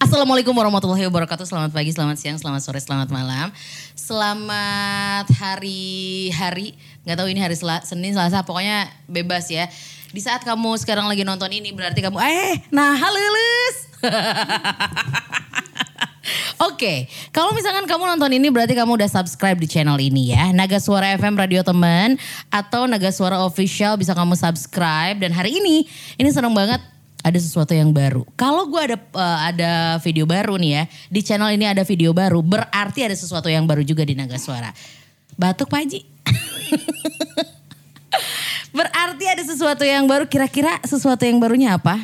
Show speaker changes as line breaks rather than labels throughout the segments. Assalamualaikum warahmatullahi wabarakatuh. Selamat pagi, selamat siang, selamat sore, selamat malam. Selamat hari-hari. Nggak tahu ini hari Sela- Senin, Selasa, pokoknya bebas ya. Di saat kamu sekarang lagi nonton ini berarti kamu eh nah halulus. Oke, kalau misalkan kamu nonton ini berarti kamu udah subscribe di channel ini ya. Naga Suara FM Radio Teman atau Naga Suara Official bisa kamu subscribe. Dan hari ini, ini seneng banget ada sesuatu yang baru. Kalau gue ada eh, ada video baru nih ya, di channel ini ada video baru, berarti ada sesuatu yang baru juga di Naga Suara. Batuk Pak Haji. Berarti ada sesuatu yang baru. Kira-kira sesuatu yang barunya apa?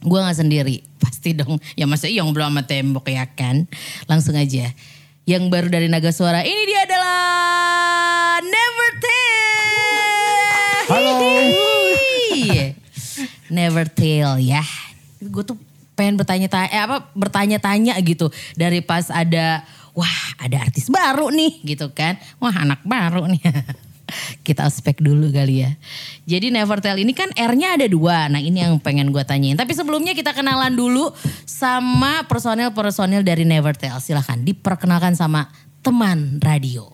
Gue nggak sendiri, pasti dong. Ya masa yang belum sama tembok ya kan? Langsung aja. Yang baru dari Naga Suara ini dia adalah Never Tell.
Halo.
Hihi. Never Tell ya. Gue tuh pengen bertanya-tanya, eh apa bertanya-tanya gitu dari pas ada wah ada artis baru nih gitu kan, wah anak baru nih. kita ospek dulu kali ya. Jadi Never Tell ini kan R-nya ada dua. Nah ini yang pengen gue tanyain. Tapi sebelumnya kita kenalan dulu sama personil-personil dari Never Tell. Silahkan diperkenalkan sama teman radio.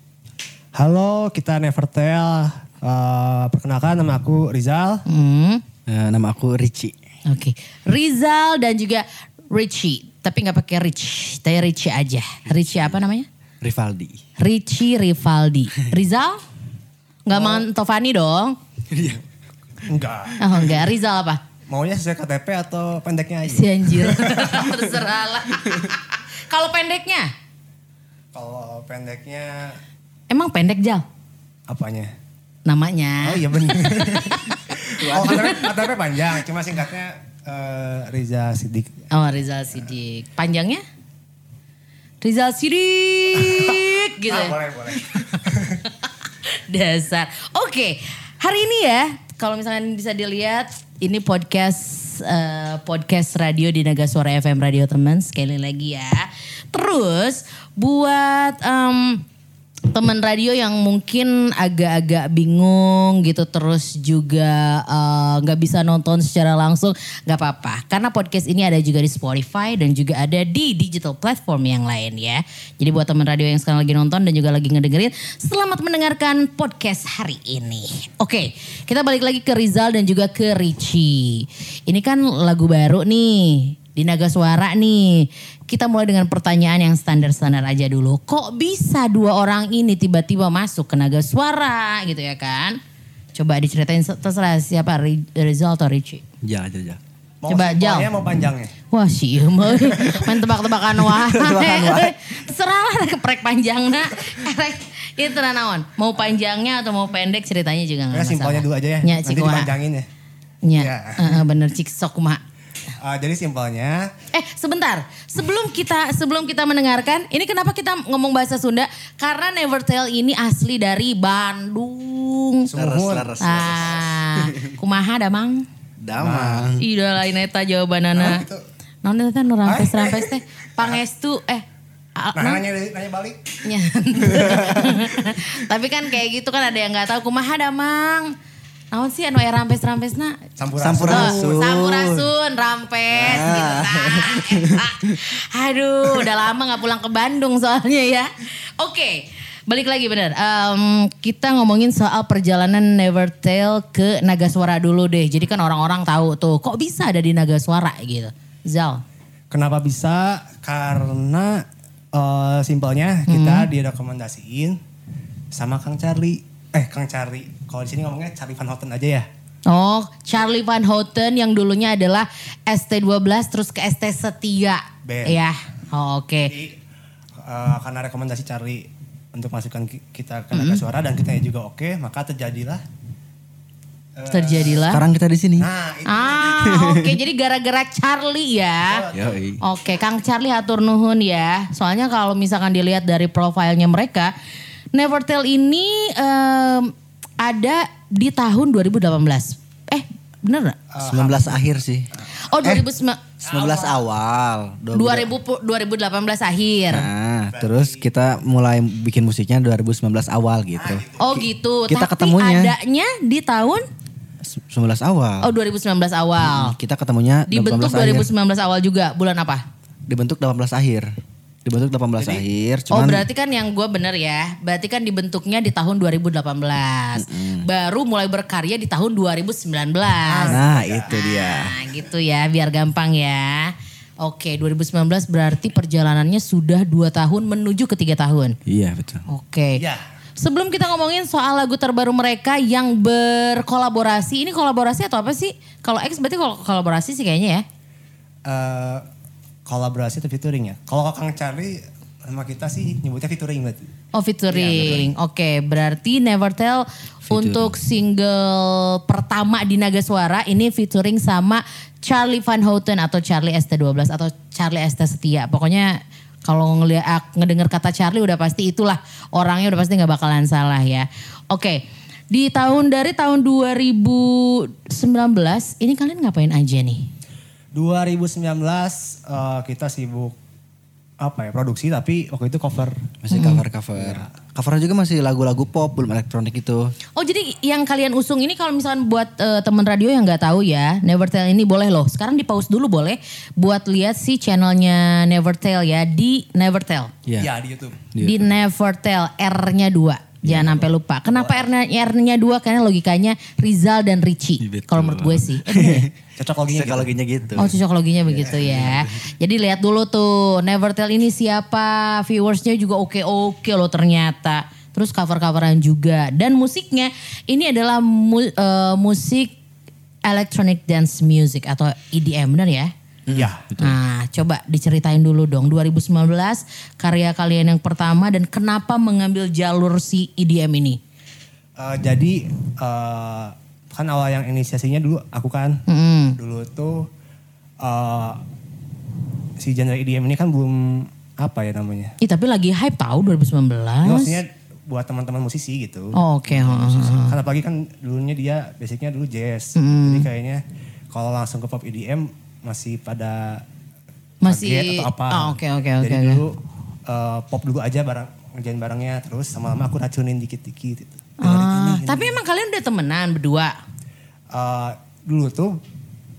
Halo, kita Nevertel. Eh, perkenalkan nama aku Rizal.
Hmm,
Eh, nama aku Ricci.
Oke. Rizal dan juga Richie. Tapi nggak pakai Rich. Tapi Richie aja. Richie apa namanya?
Rivaldi.
Richie Rivaldi. Rizal? Nggak mangan Tovani dong?
Iya. Enggak.
Oh enggak. Rizal apa?
Maunya sesuai KTP atau pendeknya aja?
Si anjir. Terserah lah. Kalau pendeknya,
Kalau pendeknya
emang pendek Jal?
apanya?
Namanya.
Oh iya benar. oh, KTP, KTP panjang, cuma singkatnya eh, Riza Sidik.
Oh Rizal Sidik. Panjangnya? Rizal Sidik gitu
Ah,
ya.
boleh, boleh.
Dasar. Oke, hari ini ya kalau misalkan bisa dilihat ini podcast eh, podcast radio di Naga Suara FM Radio teman sekali lagi ya. Terus buat em, teman radio yang mungkin agak-agak bingung gitu terus juga eh, nggak bisa nonton secara langsung nggak apa-apa karena podcast ini ada juga di Spotify dan juga ada di digital platform yang lain ya. Jadi buat teman radio yang sekarang lagi nonton dan juga lagi ngedengerin, selamat mendengarkan podcast hari ini. Oke, kita balik lagi ke Rizal dan juga ke Ricci. Ini kan lagu baru nih di Naga Suara nih. Kita mulai dengan pertanyaan yang standar-standar aja dulu. Kok bisa dua orang ini tiba-tiba masuk ke Naga Suara gitu ya kan? Coba diceritain terserah siapa Ri- Rizal atau Ricci.
Ya, ya, ya.
Mau
Coba, Jal.
simpelnya, mau panjangnya.
Wah sih mah main tebak-tebakan wae.
Tebak-tebakan wae.
Serah lah keprek panjangnya. Karek itu Gitu, naon? Mau panjangnya atau mau pendek ceritanya juga
Ya,
enggak
simpelnya dulu aja ya.
Nya
Nanti
cik kumaha.
dipanjangin ya.
Nya.
Ya.
heeh, bener cik sok kumaha.
Eh, jadi simpelnya
Eh sebentar, sebelum kita sebelum kita mendengarkan, ini kenapa kita ngomong bahasa Sunda? Karena Never Tell ini asli dari Bandung.
Sumuhun.
Leres, leres, leres.
Ah, kumaha damang?
Damang.
Ih dah lain eta jawabanana. Naon eta nu rampes-rampes teh? Pangestu eh a-
Nah, nanya, nanya balik.
Ya. Tapi kan kayak gitu kan ada yang nggak tahu kumaha damang. Naon sih anu aya rampes-rampesna?
Sampurasun. Ya.
Oh, Sampurasun, rampes gitu tah, eta. Aduh, udah lama nggak pulang ke Bandung soalnya ya. Oke. Balik lagi bener, Em, kita ngomongin soal perjalanan Never Tell ke Naga Suara dulu deh. Jadi kan orang-orang tahu tuh, kok bisa ada di Naga Suara gitu. Zal,
Kenapa bisa? Karena eh, simpelnya kita direkomendasiin sama Kang Charlie. Eh Kang Charlie, kalau di sini ngomongnya Charlie Van Houten aja ya.
Oh, Charlie Van Houten yang dulunya adalah ST12 terus ke ST Setia.
Ben.
Ya. Oh, Oke.
Jadi eh, karena rekomendasi Charlie untuk masukkan ki- kita ke Naga Suara dan kita juga oke, maka terjadilah.
Terjadilah.
Iya. Sekarang kita di sini.
Nah, itu
Ah, oke. Jadi gara-gara Charlie
Iya.
ya.
Yoi.
Oke, Kang Charlie hatur nuhun ya. Soalnya kalau misalkan dilihat dari profilnya mereka, Nevertell ini em, ada di tahun 2018. Eh, bener nggak?
19 akhir sih. Eh,
Oh, 2019
19 awal.
2000 2018 akhir.
Nah, terus kita mulai bikin musiknya 2019 awal gitu.
Oh gitu.
Kita
Tapi
ketemunya. Ah.
adanya di tahun
Se- 19 awal.
oh 2019 awal.
Kita ketemunya
Dibentuk
2019 Hmm, akhir.
2019 awal juga bulan apa?
dibentuk 18 akhir. Dibentuk 18 akhir, cuman
oh berarti kan yang gue bener ya, berarti kan dibentuknya di tahun 2018,
Hmm.
baru mulai berkarya di tahun 2019.
nah itu dia.
Nah gitu ya, biar gampang ya. Oke, 2019 berarti perjalanannya sudah dua tahun menuju ke tiga tahun.
Iya betul.
Oke.
Ya.
Sebelum kita ngomongin soal lagu terbaru mereka yang berkolaborasi, ini kolaborasi atau apa sih? Kalau X berarti kol- kolaborasi sih kayaknya ya.
Eh, kolaborasi atau featuring ya? Kalau Kang Charlie sama kita sih nyebutnya featuring berarti.
Oh featuring. Oke, berarti Never Tell untuk single pertama di Naga Suara ini featuring sama Charlie Van Houten atau Charlie ST12 atau Charlie ST Setia. Pokoknya kalau ngelihat ak- ngedenger kata Charlie udah pasti itulah orangnya udah pasti nggak bakalan salah ya. Oke. Di tahun dari tahun 2019 ini kalian ngapain aja nih?
2019 eh, kita sibuk apa ya produksi tapi waktu itu cover
Masih
Hmm.
cover-cover. Covernya juga masih lagu-lagu pop, belum elektronik itu.
Oh jadi yang kalian usung ini kalau misalnya buat eh, teman radio yang nggak tahu ya Never Tell ini boleh loh. Sekarang di pause dulu boleh buat lihat si channelnya Never Tell ya di Never Tell.
Iya.
ya di YouTube.
Di Never Tell R-nya dua. Jangan sampai lupa. Kenapa R-nya R-nya dua? Karena logikanya Rizal dan Ricci. Kalau menurut gue sih. Eh, bener ya?
Cocok loginya gitu.
Psikologinya gitu.
Oh cocokologinya begitu ya. Jadi lihat dulu tuh Never Tell ini siapa viewersnya juga oke oke loh ternyata. Terus cover-coveran juga dan musiknya ini adalah mu- eh, musik electronic dance music atau EDM benar ya?
Ya.
Nah coba diceritain dulu dong 2019 karya kalian yang pertama dan kenapa mengambil jalur si EDM ini?
Eh, jadi eh, kan awal yang inisiasinya dulu aku kan.
Mm-mm.
Dulu tuh eh, si genre EDM ini kan belum apa ya namanya.
Ih tapi lagi hype tahu 2019.
Maksudnya buat teman-teman musisi gitu.
Oh, oke. heeh.
Kan apalagi kan dulunya dia basicnya dulu jazz.
Hmm.
Jadi kayaknya kalau langsung ke pop EDM masih pada
Masih-
kaget atau apa.
Ah, oke, oke,
Jadi
oke, oke.
dulu eh, pop dulu aja barang ngerjain barangnya terus sama-sama aku racunin dikit-dikit gitu.
Ah, tapi emang kalian udah temenan berdua?
Eh, dulu tuh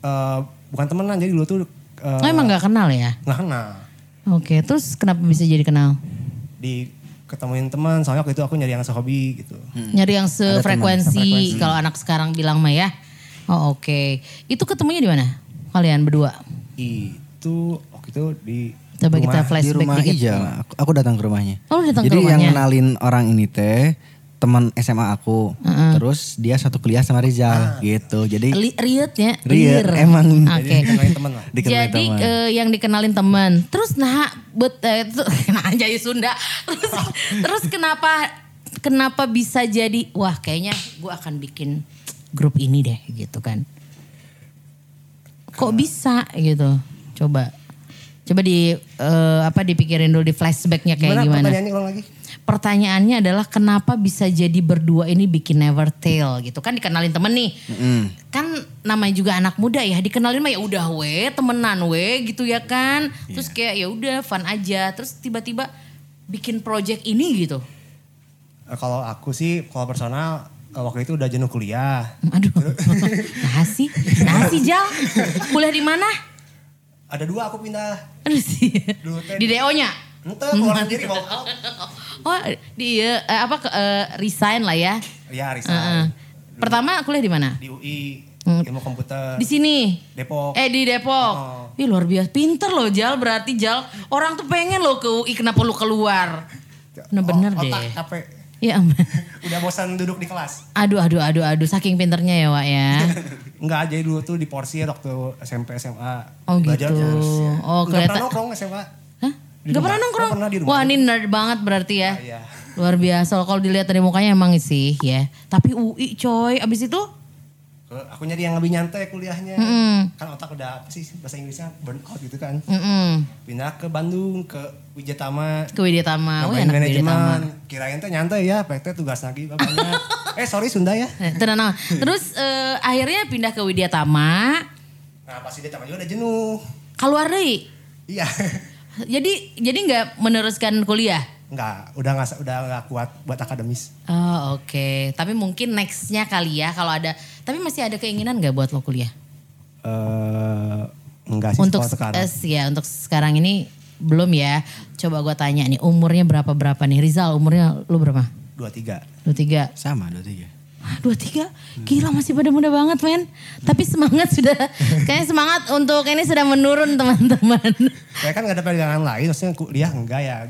eh, bukan temenan jadi dulu tuh eh,
Oh emang gak kenal ya?
nggak kenal.
Oke, terus kenapa bisa jadi kenal?
Di ketemuin teman soalnya waktu itu aku nyari yang sehobi gitu.
Hmm.
Nyari yang sefrekuensi kalau anak sekarang bilang mah ya. Oh oke, itu ketemunya di mana? Kalian berdua?
Itu waktu itu di
Coba kita
di
flashback
rumah
dikit.
Ijal. Aku, aku datang ke rumahnya.
Oh, lu datang ke
Jadi yang
rumahnya.
kenalin orang ini teh teman SMA aku. Terus dia satu kuliah sama Rizal gitu. Jadi
Li- Riet ya?
Rir
Lir.
emang
Oke.
kenalin teman lah.
dikenal
Jadi eh, yang dikenalin teman. Terus nah bet eh, itu- kena aja ya Sunda. Terus terus kenapa kenapa bisa jadi wah kayaknya gue akan bikin grup ini deh gitu kan. Kok bisa gitu? Coba coba di eh, apa dipikirin dulu di flashbacknya kayak gimana?
pertanyaannya ulang lagi?
Pertanyaannya adalah kenapa bisa jadi berdua ini bikin Never Tell gitu kan dikenalin temen nih. Kan namanya juga anak muda ya dikenalin mah ya udah we temenan we gitu ya kan. Terus kayak ya udah fun aja. Terus tiba-tiba bikin project ini gitu.
Eh, Kalau aku sih kalau personal eh, waktu itu udah jenuh kuliah.
Aduh. nah sih, nah sih Jal. Kuliah di mana?
Ada dua aku pindah.
Aduh sih.
Dulu teh
Di DO-nya.
Entah keluar sendiri mau out.
Oh, di eh, apa ke- eh, resign lah ya.
Ya Risa.
Heeh. Pertama kuliah di mana?
Di UI ilmu komputer
Di sini.
Depok. Oh.
Eh di Depok. Ih luar biasa pinter loh Jal berarti Jal. Orang tuh pengen loh ke UI kenapa lu keluar. Bener-bener
O-
deh.
Ya, oh, Otak capek.
Ya ampun.
Udah bosan duduk di kelas.
Aduh aduh aduh aduh saking pinternya ya Wak ya.
Enggak jadi dulu tuh di porsi waktu SMP SMA.
Oh,
Belajar
gitu.
terus, ya.
Oh,
Nggak pernah
kelihatan-
nongkrong SMA.
Hah?
Di
Gak
rumah.
pernah nongkrong?
Nggak pernah di rumah.
Wah ini nerd banget berarti ya.
Ah, iya.
Luar biasa kalau dilihat dari mukanya emang sih ya. Tapi UI coy abis itu
Ke- Aku nyari yang lebih nyantai kuliahnya.
Mm-mm.
Kan otak udah apa sih bahasa Inggrisnya burn out gitu kan.
mm
Pindah ke Bandung ke Wijatama.
ke Widyatama. Wah
Nambahin
enak Widyatama.
manajemen. Kirain teh nyantai ya, praktek tugas lagi bapaknya. eh sorry Sunda ya.
Eh, Tenang, tenang. Terus eh, akhirnya pindah ke Widyatama.
Nah pas Wijatama juga udah jenuh.
Keluar deh.
Iya.
Jadi jadi nggak meneruskan kuliah?
Enggak, udah nggak udah nggak kuat buat akademis.
Oh oke, tapi mungkin nextnya kali ya kalau ada. Tapi masih ada keinginan nggak buat lo kuliah?
Eh Enggak sih
untuk
kalau sekarang.
eh, ya untuk sekarang ini belum ya. Coba gue tanya nih umurnya berapa berapa nih Rizal umurnya lu berapa?
Dua tiga.
Dua tiga.
Sama dua tiga.
Hah, Dua tiga, gila masih pada muda banget men. Tapi semangat sudah, kayaknya semangat untuk ini sudah menurun teman-teman.
Saya kan gak ada pegangan lain, maksudnya kuliah enggak ya.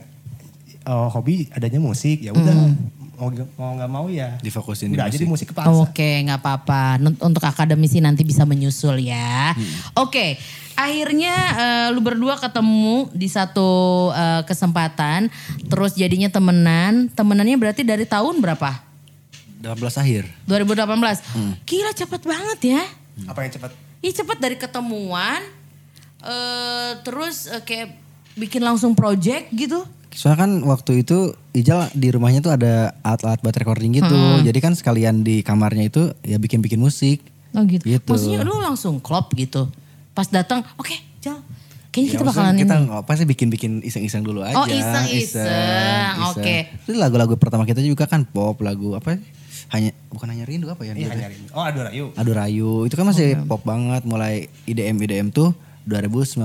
Eh, hobi adanya musik, ya udah.
Hmm.
Mau, mau gak mau ya.
Difokusin di
Udah jadi musik
musik.
kepaksa.
Oh, Oke, nggak apa-apa. Nun- Untuk akademisi nanti bisa menyusul ya. Oke, akhirnya eh, lu berdua ketemu di satu eh, kesempatan, terus jadinya temenan. Temenannya berarti dari tahun berapa?
18 akhir.
2018. Gila cepet banget ya.
Apa yang cepat?
Iya cepet dari ketemuan, eh terus eh, kayak bikin langsung project gitu.
Soalnya kan waktu itu Ijal di rumahnya tuh ada alat-alat buat recording gitu. Jadi kan sekalian di kamarnya itu ya bikin-bikin musik.
Oh gitu.
Gitu.
Maksudnya lu langsung klop gitu. Pas datang, oke, Jal. Kayaknya
Ya,
kita
maksudnya
bakalan
kita
ini.
nggak pasti bikin-bikin iseng-iseng dulu aja.
Oh, iseng-iseng.
Iseng,
Oke.
iseng. Terus lagu-lagu pertama kita juga kan pop lagu apa? sih? Hanya bukan hanya rindu apa ya?
Iya, hanya ini. Oh, aduh Rayu.
Aduh Rayu itu kan masih pop banget mulai IDM IDM tuh 2019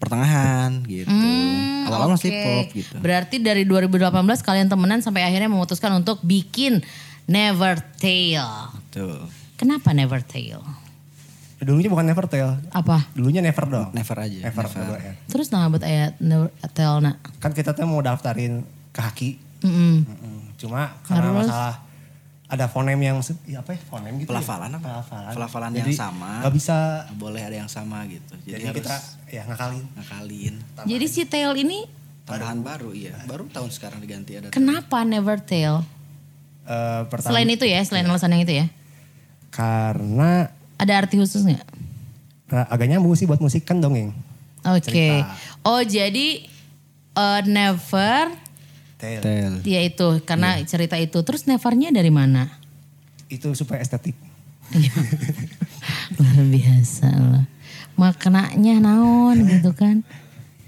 pertengahan gitu.
Hmm,
Awal-awal masih
oke.
pop gitu.
Berarti dari 2018 kalian temenan sampai akhirnya memutuskan untuk bikin Never Tale.
Tuh.
Kenapa Never Tale?
Dulunya bukan Never Tell.
Apa?
Dulunya Never dong.
Never aja.
Never.
Never.
double N.
Terus nama buat ayat Never Tale nak?
Kan kita tuh mau daftarin ke Haki.
Mm-mm.
Mm-mm. Cuma karena
Harus.
masalah ada fonem yang se- ya apa ya fonem gitu ya?
Pelafalan apa?
pelafalan
Pelafalan yang sama.
nggak bisa
Nggak Boleh ada yang sama gitu. Jadi,
jadi,
harus
kita ya ngakalin
ngakalin
Jadi si Tale ini
tambahan baru iya. Baru tahun sekarang diganti ada.
kenapa Never Tale?
Eh, pertama
Selain itu ya, selain alasan yang itu ya.
karena
Ada arti khusus nggak?
eh, agak nyambung sih buat musik kan dongeng
Oke. Oh jadi eh, Never
Tel.
Tel.
ya itu karena cerita itu. Terus Nevernya dari mana?
itu supaya estetik
Iya. Luar biasa loh. Maknanya naon gitu kan.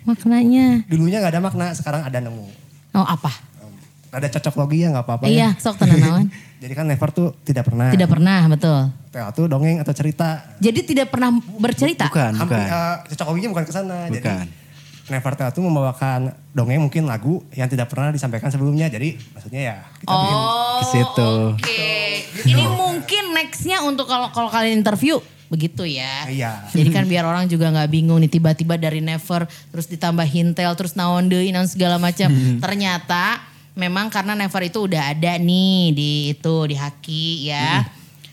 Maknanya.
dulunya nggak ada makna sekarang ada nemu
Oh apa?
Em, ada cocok logi ya nggak apa-apa ya.
Iya sok tenan naon.
jadi kan never tuh tidak pernah
tidak pernah betul.
Tel tuh dongeng atau cerita
Jadi tidak pernah bercerita?
Bukan,
hampir
bukan.
eh, cocok loginya bukan ke sana. Jadi
Bukan.
Never Tell itu membawakan dongeng mungkin lagu yang tidak pernah disampaikan sebelumnya. Jadi maksudnya ya kita bikin
Oh
Ke situ.
oke. Ini mungkin nextnya untuk kalau kalau kalian interview begitu ya.
Iya.
Jadi kan biar orang juga nggak bingung nih tiba-tiba dari never terus ditambah hintel terus naon deui naon segala macam. Ternyata memang karena never itu udah ada nih di itu di haki ya.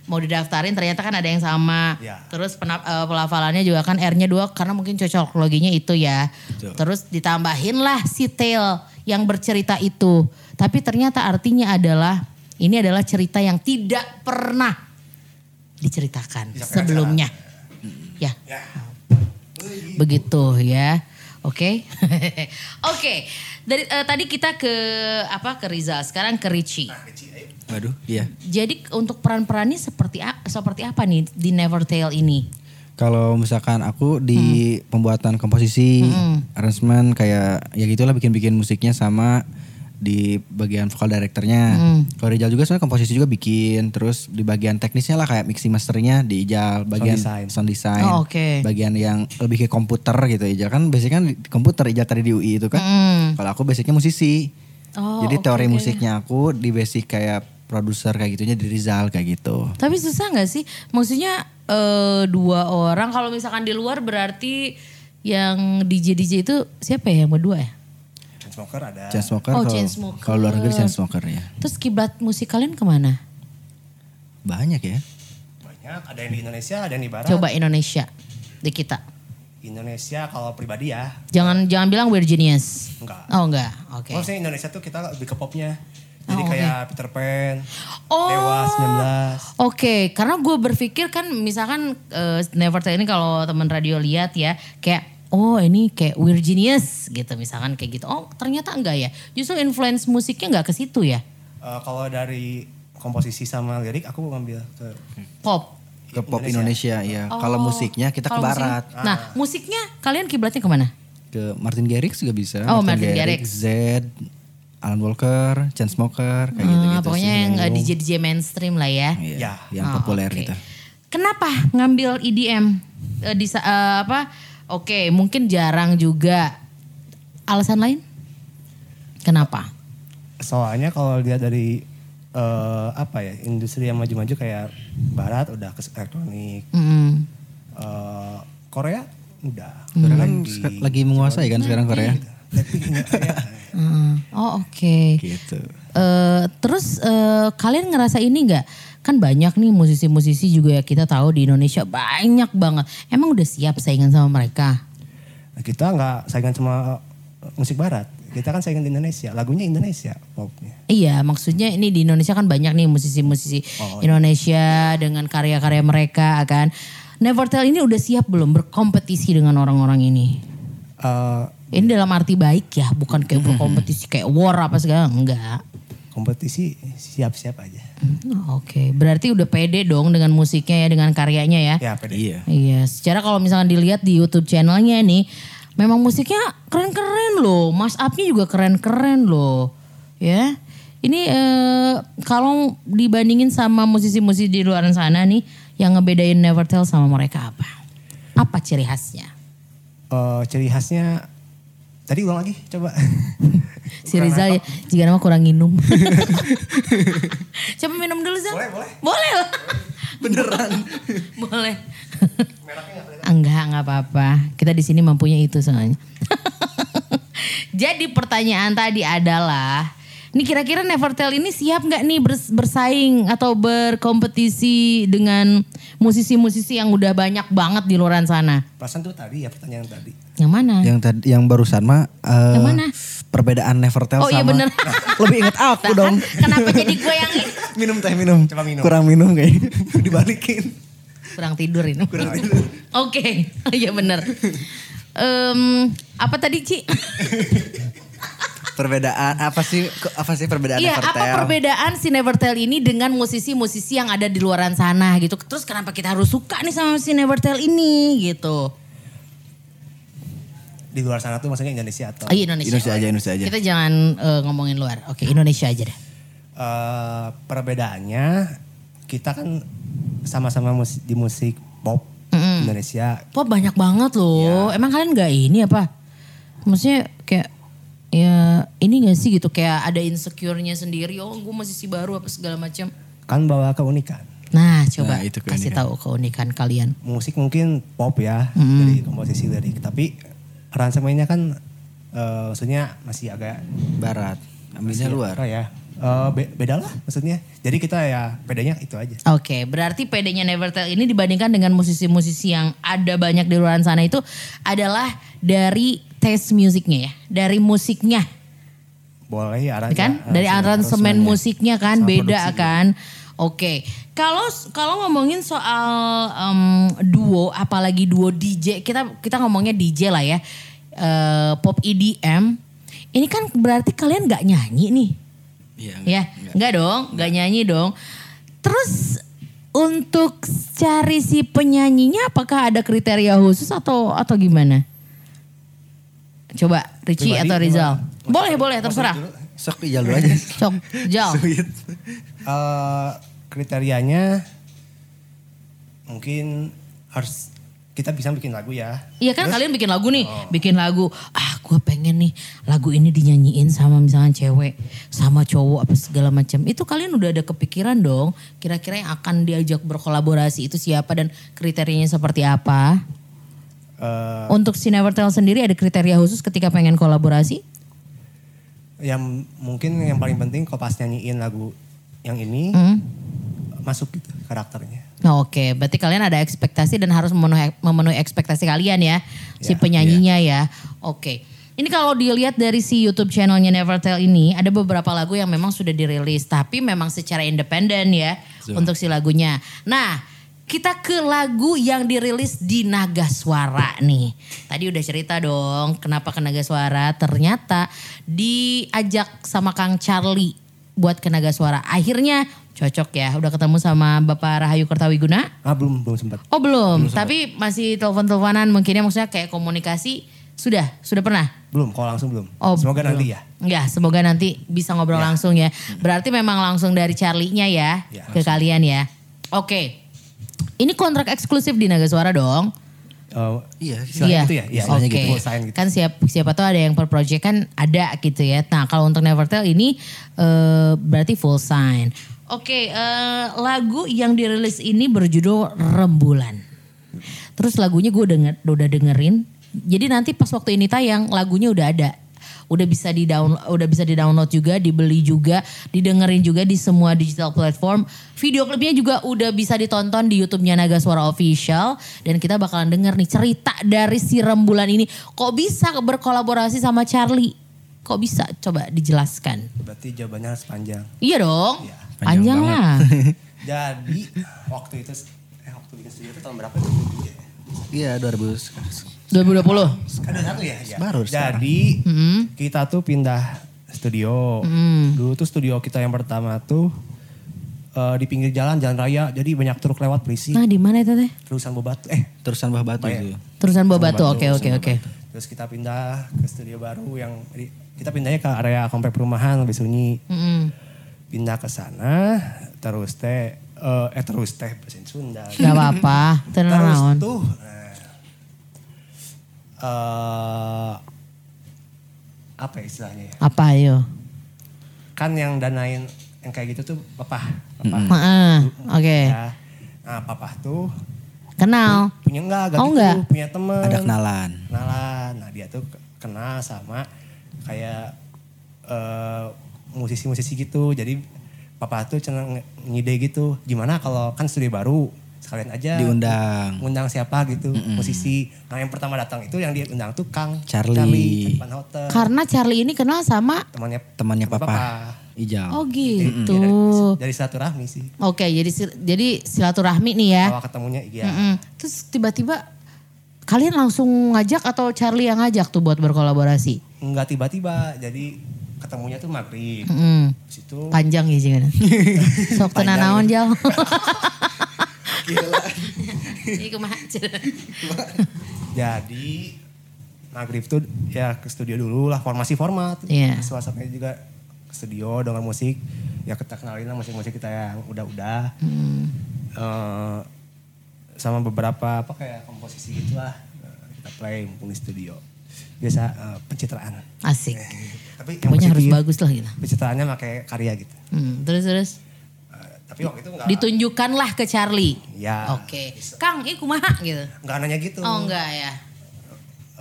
Mau didaftarin ternyata kan ada yang sama.
Iya.
Terus penap- eh, pelafalannya juga kan R-nya dua karena mungkin cocok loginya itu ya. Terus ditambahin lah si tail yang bercerita itu. Tapi ternyata artinya adalah ini adalah cerita yang tidak pernah diceritakan
Diceritakan.
sebelumnya. Ya.
Ya.
Begitu ya. Oke. Oke. Dari eh, tadi kita ke apa ke Rizal, sekarang ke Richie.
Waduh, iya.
Jadi untuk peran-perannya seperti a- seperti apa nih di Never Tale ini?
Kalau misalkan aku di
Hmm.
pembuatan komposisi, arrangement kayak ya gitulah bikin-bikin musiknya sama di bagian vokal directornya.
Hmm.
Kalau Rijal juga sebenarnya komposisi juga bikin, terus di bagian teknisnya lah kayak mixing masternya di Ijal, bagian
design.
sound design,
Oh, oke.
bagian yang lebih ke komputer gitu Ijal kan biasanya kan di komputer Ijal tadi di UI itu kan. Kalau aku basicnya musisi.
Hmm. Oh,
Jadi
oke,
teori
oke.
musiknya aku di basic kayak produser kayak gitunya di Rizal kayak gitu.
Tapi susah nggak sih? Maksudnya eh, dua orang kalau misalkan di luar berarti yang DJ DJ itu siapa ya yang berdua ya?
Chainsmoker ada.
Chainsmoker
Oh,
kalau-
Chainsmoker.
kalau luar negeri Chainsmoker ya.
Terus kiblat musik kalian kemana?
Banyak ya.
Banyak. Ada yang di Indonesia, ada yang di Barat.
Coba Indonesia di kita.
Indonesia kalau pribadi ya.
Jangan jangan bilang we're genius.
Enggak.
Oh enggak. Oke.
Maksudnya Indonesia tuh kita lebih ke popnya.
Oh,
Jadi
oke.
kayak Peter Pan,
Oh.
Dewa 19.
Oke, karena gue berpikir kan misalkan eh, Never Tell ini kalau teman radio lihat ya kayak oh ini kayak we're genius gitu misalkan kayak gitu. Oh ternyata enggak ya. Justru influence musiknya enggak ke situ ya.
Eh, kalau dari komposisi sama lirik aku ngambil ke
Pop.
ke pop Indonesia, ya. Kalau
Oh,
musiknya kita
kalau
ke
musiknya-
barat.
Nah, musiknya kalian kiblatnya kemana?
Ke Martin Garrix juga bisa.
Oh, Martin Garrix.
Z, Alan Walker, Chainsmoker, kayak
Ah,
gitu-gitu.
pokoknya
sih,
yang eh,
yang-
DJ DJ mainstream lah ya.
Iya,
Ya.
yang
Ah,
populer
oke.
gitu.
Kenapa ngambil EDM? eh, di sa- eh, apa? Oke, mungkin jarang juga. Alasan lain? Kenapa?
Soalnya kalau lihat dari eh, apa ya industri yang maju-maju kayak Barat udah ke elektronik,
Mm-mm.
eh, Korea udah.
Korea kan
Lagi-
sek- lagi menguasai
Nah,
kan sekarang Korea.
iya.
tapi ini Korea,
Mm. Oh oke.
Gitu.
Eh, terus eh, kalian ngerasa ini nggak? Kan banyak nih musisi-musisi juga ya kita tahu di Indonesia banyak banget. Emang udah siap saingan sama mereka?
kita nggak saingan sama eh, musik Barat. Kita kan saingan di Indonesia, lagunya Indonesia popnya.
Iya, maksudnya ini di Indonesia kan banyak nih musisi-musisi Indonesia dengan karya-karya mereka kan. Nevertel ini udah siap belum berkompetisi dengan orang-orang ini?
Eh,
Ini dalam arti baik ya, bukan kayak berkompetisi kayak war apa segala, enggak.
kompetisi siap-siap aja.
Oh, Oke, berarti udah pede dong dengan musiknya ya, dengan karyanya ya.
Ya, pede.
Iya.
Iya, secara kalau misalnya dilihat di YouTube channelnya nih, memang musiknya keren-keren loh, mas upnya juga keren-keren loh, ya. Ini eh, kalau dibandingin sama musisi-musisi di luar sana nih, yang ngebedain Nevertel sama mereka apa? Apa ciri khasnya?
Eh, ciri khasnya tadi ulang lagi coba.
Si Rizal ya, jika nama kurang minum. Coba minum dulu Zal.
Boleh, boleh.
Boleh lah. Beneran. boleh. Enggak, enggak apa-apa. Kita di sini mampunya itu soalnya. Jadi pertanyaan tadi adalah, ini kira-kira Nevertel ini siap nggak nih bers- bersaing atau berkompetisi dengan musisi-musisi yang udah banyak banget di luaran sana?
Perasaan tuh tadi ya pertanyaan tadi.
Yang mana?
Yang tadi yang barusan mah eh,
Hmm. Yang mana?
perbedaan
Oh,
Nevertel
iya
sama
bener. Nah, kan
lebih inget aku dong.
Kenapa jadi gue yang ini?
Minum teh minum.
Coba minum.
Kurang minum kayaknya. Dibalikin.
kurang tidur ini. Oke, iya bener. Em, apa tadi Ci?
perbedaan apa sih ke- apa sih perbedaan
Iya,
Nevertel?
apa perbedaan si Nevertel ini dengan musisi-musisi yang ada di luaran sana gitu. Terus kenapa kita harus suka nih sama si Nevertel ini gitu.
Di luar sana tuh maksudnya Indonesia atau
Oh, iya, Indonesia.
Indonesia aja, Indonesia aja.
Kita jangan eh, ngomongin luar. Oke, Indonesia aja deh.
Eh, perbedaannya kita kan sama-sama mus- di musik pop
Hmm.
Indonesia
Wah banyak banget loh.
Iya.
Emang kalian gak ini apa? Maksudnya kayak ya ini gak sih gitu kayak ada insecure-nya sendiri. Oh gue musisi baru apa segala macam.
kan bawa keunikan.
Nah coba
Nah, itu keunikan.
kasih tahu keunikan kalian.
Musik mungkin pop ya
Hmm.
dari komposisi lirik, tapi aransemennya kan eh, maksudnya masih agak
Barat. Ambilnya luar.
apa ya? Eh, be- beda lah maksudnya. Jadi kita ya bedanya itu aja.
Oke, berarti PD-nya Nevertel ini dibandingkan dengan musisi-musisi yang ada banyak di luar sana itu adalah dari tes musiknya ya, dari musiknya
Boleh ya aransemen.
kan, dari aransemen musiknya kan beda kan. Oke, kalau kalau ngomongin soal em, duo, apalagi duo DJ, kita kita ngomongnya DJ lah ya, Eh, pop EDM. Ini kan berarti kalian nggak nyanyi nih.
Iya.
Ya, enggak dong, enggak nyanyi dong. Terus untuk cari si penyanyinya apakah ada kriteria khusus atau atau gimana? Coba Ricci
Pribadi
atau Rizal. Boleh, boleh, terserah.
Sok di jalur aja.
Sok, Jal.
Sulit.
Eh, kriterianya mungkin harus kita bisa bikin lagu ya.
Iya kan kalian bikin lagu nih, bikin lagu. Ah, gua pengen nih lagu ini dinyanyiin sama misalnya cewek, sama cowok apa segala macam. Itu kalian udah ada kepikiran dong, kira-kira yang akan diajak berkolaborasi itu siapa dan kriterianya seperti apa?
Eh,
Untuk si Nevertel sendiri ada kriteria khusus ketika pengen kolaborasi?
yang mungkin yang paling penting kalau pas nyanyiin lagu yang ini masuk gitu karakternya.
Hmm. Nah, Oke, berarti kalian ada ekspektasi dan harus memenuhi, memenuhi ekspektasi kalian ya, si penyanyinya ya. Oke, ini kalau dilihat dari si YouTube channelnya Nevertel ini, ada beberapa lagu yang memang sudah dirilis, tapi memang secara independen ya untuk si lagunya. Nah, kita ke lagu yang dirilis di Naga Suara nih. Tadi udah cerita dong, kenapa ke Naga Suara? Ternyata diajak sama Kang Charlie buat ke Naga Suara. Akhirnya cocok ya, udah ketemu sama Bapak Rahayu Kertawiguna.
Ah belum belum sempat.
Oh belum, tapi masih telepon-teleponan mungkin ya maksudnya kayak komunikasi sudah, sudah pernah.
Belum, kalau langsung belum.
Oh,
Semoga
belum.
nanti ya.
Ya, semoga nanti bisa ngobrol langsung ya. Berarti memang langsung dari Charlie-nya ya
Ya,
ke kalian ya. Oke. Ini kontrak eksklusif di Naga Suara dong.
eh,
Iya,
istilahnya gitu ya? Iya,
Oke.
gitu. Perusahaan gitu.
Kan siap siapa tahu ada yang per project kan ada gitu ya. Nah, kalau untuk Nevertell ini eh, berarti full sign. Oke, eh, lagu yang dirilis ini berjudul Rembulan. Terus lagunya gue denger, udah dengerin. Jadi nanti pas waktu ini tayang lagunya udah ada. Udah bisa di download, udah bisa di download juga, dibeli juga, didengerin juga di semua digital platform. Video klipnya juga udah bisa ditonton di YouTube-nya Naga Suara Official dan kita bakalan denger nih cerita dari si Rembulan ini. Kok bisa berkolaborasi sama Charlie? Kok bisa? Coba dijelaskan.
Berarti jawabannya harus panjang.
Iya dong.
Iya,
panjang,
panjang
lah.
Jadi waktu itu eh waktu bikin studio itu tahun berapa itu?
Iya
2020.
2000
Ada satu ya? Iya.
Baru sekarang.
Jadi
Hmm.
kita tuh pindah studio. Dulu tuh studio kita yang pertama tuh eh, di pinggir jalan, jalan raya. Jadi banyak truk lewat berisik.
Nah, di mana itu teh?
Terusan Bobatu. Eh,
terusan Bah Batu
Bayar.
itu.
Terusan Buah Batu. Oke, oke, oke.
terus kita pindah ke studio baru yang di- kita pindahnya ke area komplek perumahan lebih sunyi.
Mm-mm.
Pindah ke sana, terus teh eh, eh terus teh bahasa Sunda.
Gak apa-apa. Tenang
Terus
naon.
tuh eh, eh, apa ya istilahnya ya?
Apa ayo?
Kan yang danain yang kayak gitu tuh papa, papa.
Hmm. Heeh, Oke.
Ya. Nah, papa tuh
Kenal.
punya enggak gitu,
Oh, enggak?
punya teman.
Ada kenalan.
kenalan. Nah dia tuh ke- kenal sama kayak eh, musisi-musisi gitu. Jadi papa tuh seneng nge- ngide gitu. Gimana kalau kan studio baru sekalian aja
Diundang.
ngundang siapa gitu musisi. Nah yang pertama datang itu yang dia undang tuh Kang
Charlie.
Van Houten,
Karena Charlie ini kenal sama
temannya
Temannya
teman
Papa Ijal.
Oh
Jadi
gitu.
dari, dari satu rahmi sih.
Oke, jadi sil- jadi silaturahmi nih ya.
Awal ketemunya iya.
Mm-mm. Terus tiba-tiba kalian langsung ngajak atau Charlie yang ngajak tuh buat berkolaborasi?
Enggak tiba-tiba. Jadi ketemunya tuh maghrib.
Mm.
Habis itu
Panjang ya jangan. Sok tenan naon jal. Ini kumaha, Cen?
Jadi maghrib tuh ya ke studio dulu lah formasi format.
Iya.
Suasananya juga ke studio dengan musik. Ya kita kenalin lah musik-musik kita yang udah-udah.
Mm,
Eh, sama beberapa apa kayak komposisi gitu lah. Eh, Kita play mumpung di studio. Biasa eh, pencitraan.
Asik.
Tapi Eh, yang
Pokoknya harus
positif,
bagus lah gitu.
Pencitraannya pakai karya gitu.
Hmm, terus terus
Eh, tapi waktu itu enggak,
ditunjukkanlah ke Charlie.
Ya.
Oke. Kang, ini kumaha gitu.
enggak nanya gitu.
Oh enggak ya.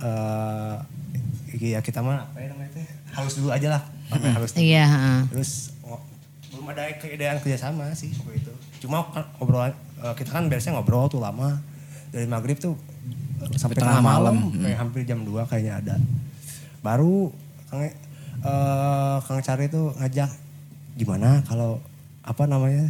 Eh, iya kita mah apa ya namanya teh? Halus dulu aja lah. Pakai halus dulu.
Iya, heeh.
Terus ngo- belum ada keadaan kerjasama sih waktu itu. Cuma kan obrolan eh, kita kan biasanya ngobrol tuh lama dari maghrib tuh eh, sampai tengah,
tengah
malam, Hmm.
malam.
kayak hampir jam 2 kayaknya ada. Baru Kang eh, Kang Cari tuh ngajak gimana kalau apa namanya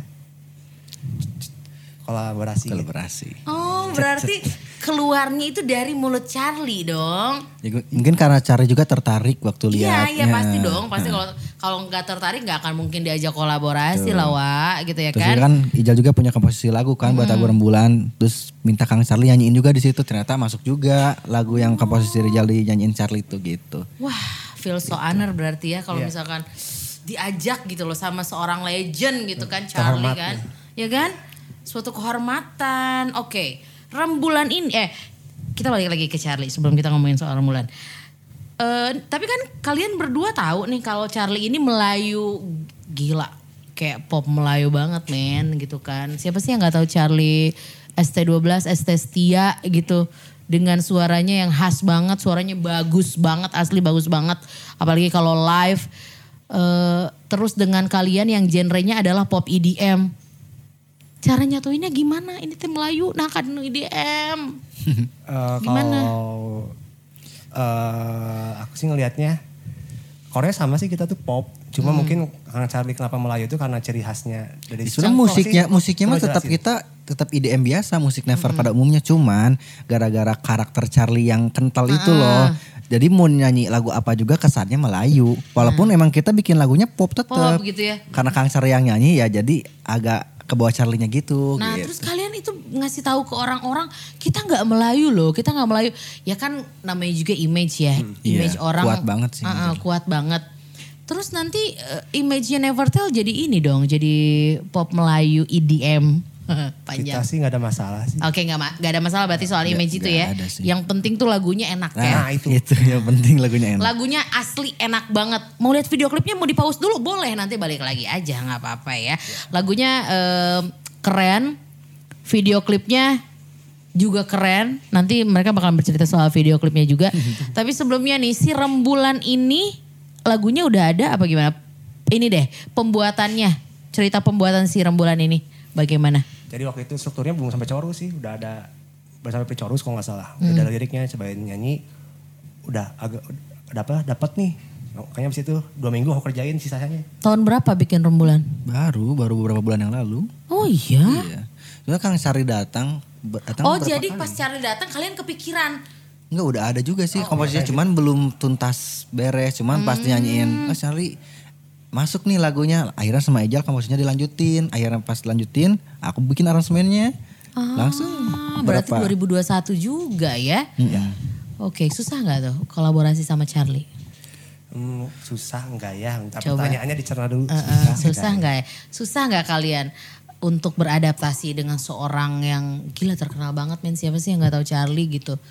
kolaborasi. gitu.
Kolaborasi.
Oh, berarti keluarnya itu dari mulut Charlie dong.
Ya, gue- mungkin karena cara juga tertarik waktu
Iya,
lihat.
iya pasti dong. Pasti kalau kalau nggak tertarik nggak akan mungkin diajak kolaborasi lah, Wak, gitu ya
Terus
kan?
juga kan Ijal juga punya komposisi lagu kan buat lagu rembulan. Terus minta Kang Charlie nyanyiin juga di situ. Ternyata masuk juga lagu yang komposisi Rijal dinyanyiin Charlie itu gitu.
Wah, feel so honor berarti ya kalau misalkan diajak gitu loh sama seorang legend gitu kan Charlie
Terhormat
kan. Ya kan? Suatu kehormatan. Oke. Rembulan ini eh kita balik lagi ke Charlie sebelum kita ngomongin soal Rembulan. Eh, tapi kan kalian berdua tahu nih kalau Charlie ini Melayu gila. Kayak pop Melayu banget men gitu kan. Siapa sih yang nggak tahu Charlie ST12, ST Setia gitu. Dengan suaranya yang khas banget, suaranya bagus banget, asli bagus banget. Apalagi kalau live. Eh, terus dengan kalian yang genrenya adalah pop EDM. Cara nyatuinnya gimana? Ini tim Melayu, nah kan EDM.
Eh,
Gimana?
Kalau eh, aku sih ngelihatnya Korea sama sih kita tuh pop. Cuma
Hmm.
mungkin Kang Charlie kenapa Melayu itu karena ciri khasnya dari
Sebenarnya
Coba
musiknya
sih,
musiknya mah
coba
tetap
jelasin.
kita tetap IDM biasa, musik Never pada umumnya cuman gara-gara karakter Charlie yang kental itu loh. Jadi mau nyanyi lagu apa juga kesannya Melayu. Walaupun emang kita bikin lagunya pop tetap.
Pop gitu ya.
Karena Kang Charlie yang nyanyi ya jadi agak ke bawah Charlie-nya gitu.
Nah
gitu.
terus kalian itu ngasih tahu ke orang-orang kita nggak Melayu loh, kita nggak Melayu. Ya kan namanya juga image ya, image
iya,
orang
kuat banget sih.
Ah, ah, kuat banget. Terus nanti eh, image-nya Nevertell jadi ini dong, jadi pop Melayu EDM. Panjang.
Kita sih nggak ada masalah sih.
Oke nggak ma- nggak ada masalah berarti soal image itu ya.
nggak ada sih.
Yang penting tuh lagunya enak ya.
Nah, itu. itu yang penting lagunya enak.
Lagunya asli enak banget. Mau lihat video klipnya mau dipaus dulu boleh nanti balik lagi aja nggak apa-apa ya. Lagunya em, keren, video klipnya juga keren. Nanti mereka bakal bercerita soal video klipnya juga. Tapi sebelumnya nih si Rembulan ini lagunya udah ada apa gimana? Ini deh pembuatannya, cerita pembuatan si Rembulan ini bagaimana?
Jadi waktu itu strukturnya belum sampai chorus sih, udah ada udah sampai pre-chorus kalau nggak salah.
Hmm.
Udah ada liriknya, cobain nyanyi, udah agak udah apa dapat nih. Kayaknya abis itu dua minggu aku kerjain sisanya.
Tahun berapa bikin Rembulan?
Baru baru beberapa bulan yang lalu.
Oh iya.
Iya. Soalnya Kang Sari datang ber- datang
Oh
beberapa
jadi
kali.
pas cari datang kalian kepikiran.
Enggak udah ada juga sih komposisinya cuman belum tuntas beres cuman pas nyanyiin Mas Sari masuk nih lagunya akhirnya sama Ejal komposisinya dilanjutin akhirnya pas lanjutin aku bikin aransemennya langsung
Ah, berarti 2021 juga ya. Oke susah nggak tuh kolaborasi sama Charlie?
Hmm, susah enggak ya? Ntar
Coba.
pertanyaannya dicerna dulu.
Eh, eh, susah nggak ya? Susah nggak kalian untuk beradaptasi dengan seorang yang gila terkenal banget men siapa sih yang nggak tahu Charlie gitu?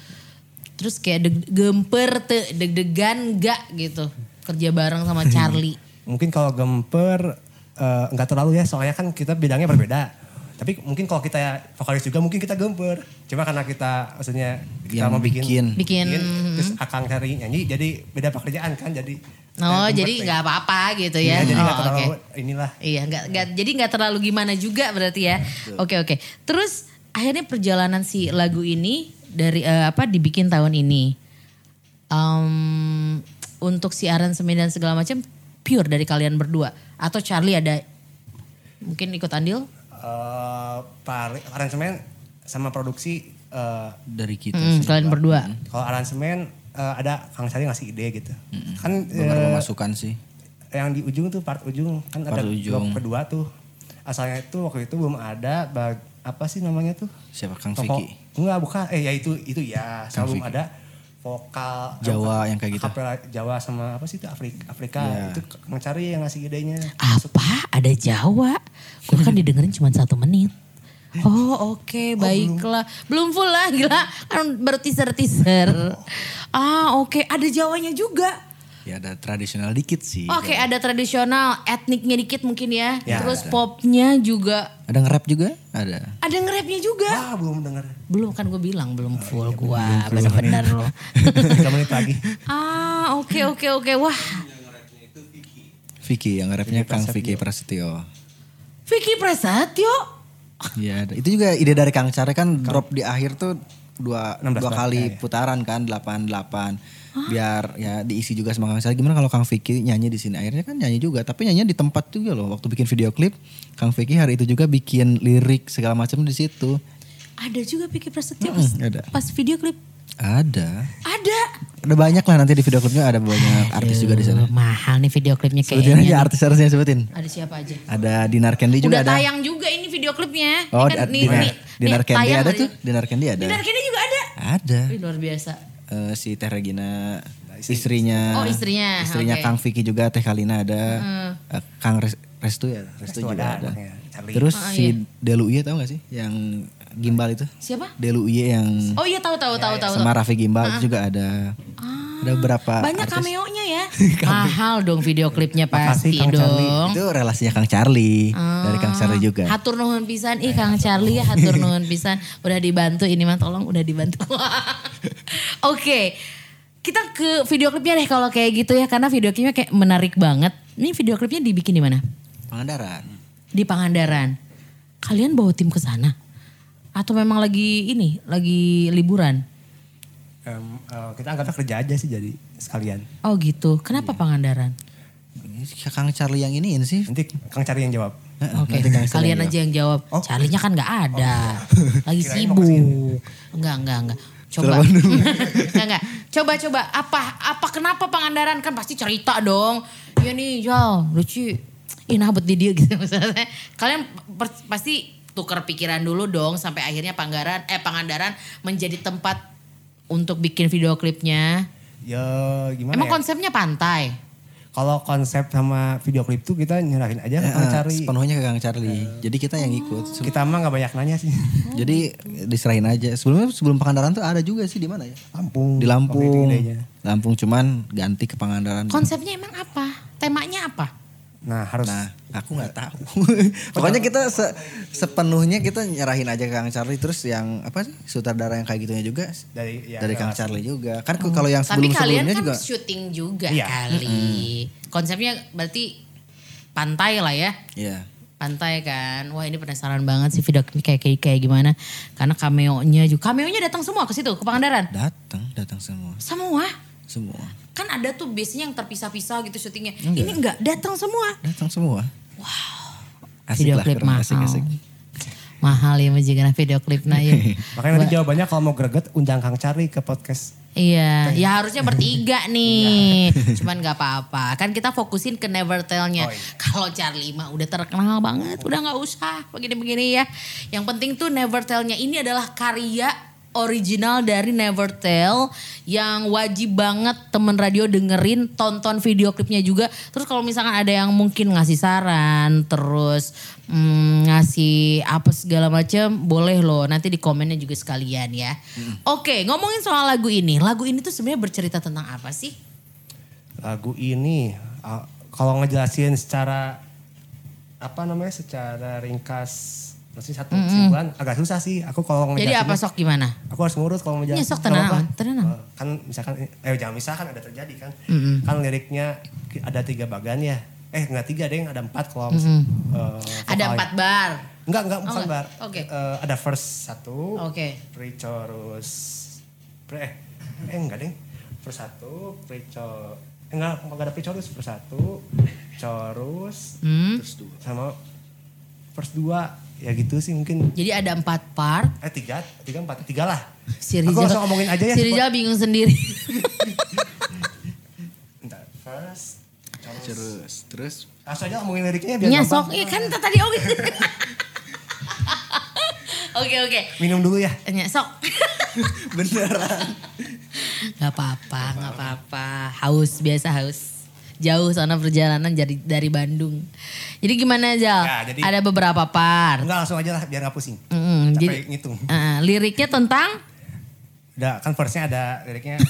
Terus kayak deg- gemper te, deg-degan nggak gitu kerja bareng sama Charlie?
Mungkin kalau gemper eh, nggak terlalu ya, soalnya kan kita bidangnya berbeda. Tapi mungkin kalau kita vokalis juga mungkin kita gemper. Cuma karena kita maksudnya kita
Yang
mau bikin,
bikin.
Bikin. Mm-hmm.
terus akang cari nyanyi, jadi beda pekerjaan kan, jadi.
Oh
eh, gemper
jadi
deh.
nggak apa-apa gitu
Iya,
ya?
jadi nggak
Oh,
terlalu
oke.
inilah.
Iya, nggak nggak jadi nggak terlalu gimana juga berarti ya. Oke oke. Terus akhirnya perjalanan si lagu ini dari eh, apa dibikin tahun ini. Em, untuk si aransemen dan segala macam pure dari kalian berdua atau Charlie ada mungkin ikut andil?
Eh, pari- aransemen sama produksi eh,
dari kita
Hmm, kalian berdua.
kalau aransemen eh, ada Kang Sari ngasih ide gitu. Kan
beberapa
eh,
masukan sih
yang di ujung tuh part ujung kan
Part
ada
ujung.
blok kedua tuh asalnya itu waktu itu belum ada bag- apa sih namanya tuh
siapa Kang
Toko-
Vicky
enggak bukan eh ya itu itu ya sama belum
Vicky.
ada vokal
Jawa
eh,
yang kayak gitu.
acapella Jawa sama apa sih itu Afrika Afrika
Ya.
itu mencari yang ngasih idenya
Apa? Ada Jawa? Gue kan didengerin cuma satu menit. Oh oke baiklah. Belum. full lah gila. Kan baru teaser-teaser. Ah oke ada Jawanya juga.
ya ada tradisional dikit sih
Oke ada tradisional etniknya dikit mungkin ya.
Ya,
Terus
ada.
popnya juga.
ada nge-rap juga ada
Ada nge-rapnya juga.
wah Ah, belum denger
Belum kan gue bilang belum full gue. Bener-bener loh.
tiga menit lagi
ah oke oke oke. Wah
Vicky yang nge-rapnya Kang Vicky Prasetyo
Vicky Prasetyo.
Iya, ada. itu juga ide dari Kang Care kan drop di akhir tuh dua
16
dua
banget,
kali
ya, ya.
putaran kan 88 biar ya diisi juga sama Kang Care. Gimana kalau Kang Vicky nyanyi di sini? Akhirnya kan nyanyi juga, tapi nyanyinya di tempat juga loh. Waktu bikin video klip, Kang Vicky hari itu juga bikin lirik segala macam di situ.
Ada juga Vicky Prasetyo
Mm-mm,
pas-
ada.
pas video klip.
Ada.
Ada.
Ada banyak lah nanti di video klipnya ada banyak artis juga di
Aduh,
sana.
Mahal nih video klipnya
Sebutin Iya. aja
kayaknya.
artis-artisnya sebutin.
Ada siapa aja?
Ada Dinar Candy
Iya.
juga
Udah
ada.
tayang juga ini video klipnya.
Oh,
Ini kan
di-
nih-
Dinar,
nih-
Dinar
nih
Candy
tayang
ada
tadi.
tuh. Iya. Dinar Candy ada.
Dinar Candy juga ada.
Ada.
Wih, luar biasa.
Eh, si Teh Regina istrinya
Oh, istrinya,
istrinya
oke.
Kang Vicky juga Teh Kalina ada Eh, Kang Res- Restu ya Restu,
Restu
juga
ada, Iya.
ada,
anaknya, Charlie.
terus
Ah,
si Delu Iye tau gak sih yang gimbal itu
Siapa?
Delu Iye yang
Oh iya tahu tahu tahu tahu.
Hmm. Ya, sama Raffi Gimbal juga ada ada berapa
Ah. Banyak
artis.
cameo-nya ya. Mahal dong video klipnya pasti
Makasih, Kang Charlie.
dong.
itu relasinya Kang Charlie
Oh.
dari Kang Charlie juga
Hatur nuhun pisan, ih Kang Charlie ya hatur nuhun pisan. Udah dibantu ini mah tolong udah dibantu. Oke. Kita ke video klipnya deh kalau kayak gitu ya karena video klipnya kayak menarik banget. Ini video klipnya dibikin di mana?
Pangandaran
di Pangandaran. Kalian bawa tim ke sana? Atau memang lagi ini, lagi liburan?
Em, eh, kita anggapnya kerja aja sih jadi sekalian
Oh gitu. Kenapa Pangandaran?
Kang Charlie yang iniin sih
nanti Kang cari yang jawab
Oke, kalian aja yang jawab. Charlie-nya kan nggak ada. Lagi
ya. Oh. Kirain mau
sibuk. Enggak, enggak, enggak. Coba. enggak, enggak. Coba coba apa apa kenapa Pangandaran kan pasti cerita dong. Ya nih, Jal, lucu. Ih, nah di dia gitu maksudnya. Kalian per- pasti tukar pikiran dulu dong sampai akhirnya Pangandaran eh Pangandaran menjadi tempat untuk bikin video klipnya.
ya gimana
Emang
ya?
konsepnya pantai.
kalau konsep sama video klip tuh kita nyerahin aja ke Kang
Eh,
Cari.
Sepenuhnya ke Kang Charlie. Jadi kita yang ikut. Se-
Kita mah nggak banyak nanya sih.
Oh, Jadi gitu. diserahin aja. Sebelumnya sebelum Pangandaran tuh ada juga sih di mana ya?
Lampung.
Di Lampung.
waktu itu idenya.
Lampung cuman ganti ke Pangandaran.
Konsepnya emang apa? Temanya apa?
Nah harus
Nah, aku nggak tahu. Pokoknya kita se- sepenuhnya kita nyerahin aja ke Kang Charlie terus yang apa sih sutradara yang kayak gitunya juga
dari ya,
dari Iya, Kang
relasi.
Charlie juga. Kan kalau yang
Tapi kalian
sebelum-sebelumnya
kan
juga
syuting juga
Iya.
kali. Konsepnya berarti pantai lah ya.
Iya.
Pantai kan. Wah ini penasaran banget sih video klip kayak, kayak kayak gimana. Karena cameo-nya juga. Cameo-nya datang semua ke situ ke Pangandaran.
Datang, datang semua.
Semua.
Semua.
Kan ada tuh biasanya yang terpisah-pisah gitu syutingnya. Ini enggak datang semua.
Datang semua. Wow. Asik
video
lah,
klip
keren,
mahal.
asik, asik.
Mahal ya majikan video klipnya ya.
Makanya nanti jawabannya kalau mau greget undang Kang Cari ke podcast.
Iya, ya harusnya bertiga nih. Cuman nggak apa-apa. Kan kita fokusin ke Never Tell-nya.
Iya. Oh, iya.
Kalau Charlie mah udah terkenal banget, udah nggak usah begini-begini ya. Yang penting tuh Never Tell-nya ini adalah karya original dari Never Tell yang wajib banget temen radio dengerin, tonton video klipnya juga. Terus kalau misalkan ada yang mungkin ngasih saran, terus mm, ngasih apa segala macam, boleh loh. Nanti di komennya juga sekalian ya.
Hmm.
Oke, ngomongin soal lagu ini. Lagu ini tuh sebenarnya bercerita tentang apa sih?
Lagu ini ah, kalau ngejelasin secara apa namanya secara ringkas masih satu kesimpulan agak susah sih aku kalau
Jadi apa
ngejelasin
sok gimana?
aku harus ngurus kalau ngejelasin
Iya, sok,
Gak apa-apa.
tenang, tenang.
Eh, kan misalkan eh jangan misalkan ada terjadi kan kan liriknya ki- ada tiga bagan ya eh nggak tiga deh ada empat kalau mis- eh,
Ada
vokalnya.
empat bar.
Enggak, enggak, bukan
enggak.
bar.
Oke.
Eh, ada first satu.
Oke.
Pre-chorus. Pre, eh, eh enggak deh. First satu, pre-chorus. Enggak, enggak ada pre-chorus. First satu, chorus.
Hmm?
Terus dua. Sama first dua. Ya gitu sih mungkin.
Jadi ada empat part.
Eh tiga, tiga empat, tiga lah.
Si
Aku
Rizal,
langsung ngomongin aja ya.
Si Rizal bingung sendiri.
Bentar, first, chorus.
Terus, terus
Langsung aja ngomongin liriknya ya, biar
Nya sok,
gampang.
iya kan tadi oke. Oke oke.
Minum dulu ya.
Nya sok.
beneran.
Gak apa-apa, gak apa-apa. Haus biasa haus. Jauh sana perjalanan dari dari Bandung. Jadi gimana Jal?
Ya, jadi-
ada beberapa part.
Enggak, langsung aja lah biar gak pusing.
Mm,
Capek
jadi
ngitung.
Eh, liriknya tentang
Udah, kan firstnya ada liriknya.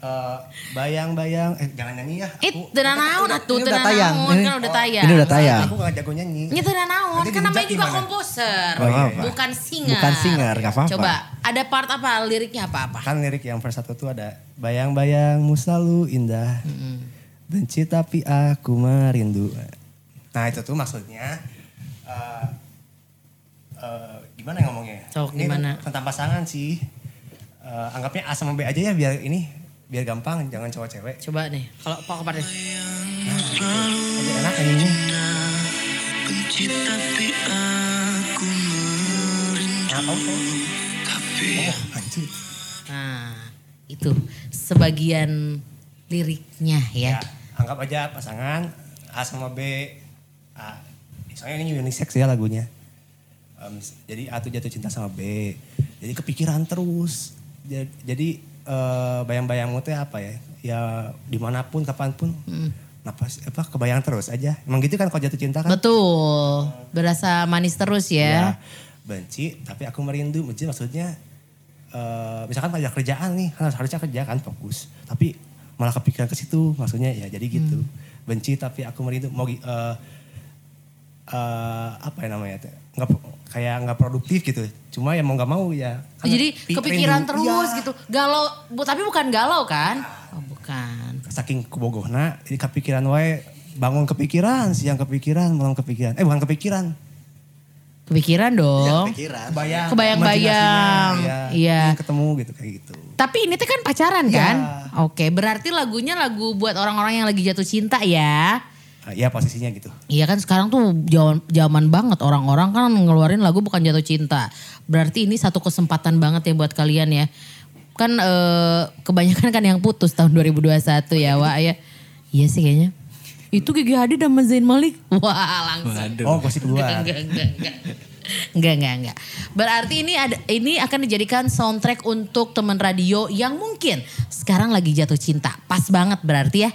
eh, bayang-bayang, eh jangan nyanyi ya.
Eh, tidak naon atuh,
ini
tidak
udah tayang.
naon
Ini-
kan udah tayang.
ini udah tayang.
Aku gak jago nyanyi.
Ini tidak naon,
Nanti
kan namanya
dihujat
juga
gimana?
komposer.
Gak apa-apa.
Bukan singer.
Oh, iya, Bukan singer, gak apa-apa.
Coba, ada part apa liriknya apa-apa?
Kan lirik yang verse satu tuh ada bayang-bayangmu selalu indah. Benci tapi aku merindu. Nah, itu tuh maksudnya eh, eh, gimana ngomongnya?
Sok,
Ini
gimana?
tentang pasangan sih. Eh, anggapnya A sama B aja ya biar ini biar gampang, jangan cowok cewek.
Coba nih, kalau apa partnya?
Lebih enak nyanyinya. Nah, tahu tuh. Oh, anjir.
Nah, itu sebagian liriknya ya.
ya anggap aja pasangan A sama B A soalnya ini unisex ya lagunya Em, jadi A tuh jatuh cinta sama B jadi kepikiran terus Ja- jadi eh, bayang-bayangmu tuh apa ya ya dimanapun kapanpun
Hmm.
napas apa kebayang terus aja emang gitu kan kalau jatuh cinta kan
Betul, berasa manis terus ya.
Ya, benci tapi aku merindu benci maksudnya eh, misalkan pada kerjaan nih kan harus- harusnya kerja kan fokus tapi malah kepikiran ke situ maksudnya ya jadi gitu
Hmm.
benci tapi aku merindu mau gi- eh, eh, apa ya namanya teh? nggak pro- kayak nggak produktif gitu cuma ya mau nggak mau ya Karena
Oh, Jadi
pi-
kepikiran
rindu.
terus
Iya. Ya.
gitu. Galau, bu, tapi bukan galau kan? Oh, bukan.
saking kebogohna jadi kepikiran wae bangun kepikiran siang kepikiran malam kepikiran eh bukan kepikiran
Kepikiran
Ya,
dong.
Pikiran.
bayang
Kebayang-bayang.
imajinasinya,
Iya.
ingin ketemu gitu kayak gitu
Tapi ini teh kan pacaran kan?
Ya.
Oke, berarti lagunya lagu buat orang-orang yang lagi jatuh cinta ya.
Ah, Iya posisinya gitu.
Iya kan sekarang tuh zaman zaman banget orang-orang kan ngeluarin lagu bukan jatuh cinta. Berarti ini satu kesempatan banget ya buat kalian ya. Kan eh, kebanyakan kan yang putus tahun 2021 ya, Wak ya. Iya sih kayaknya. Itu Gigi Hadid sama Zain Malik. Wah, langsung.
Waduh.
Oh gosip luar.
Enggak, enggak, enggak. Enggak, enggak, enggak. Berarti ini ada ini akan dijadikan soundtrack untuk teman radio yang mungkin sekarang lagi jatuh cinta. Pas banget berarti ya.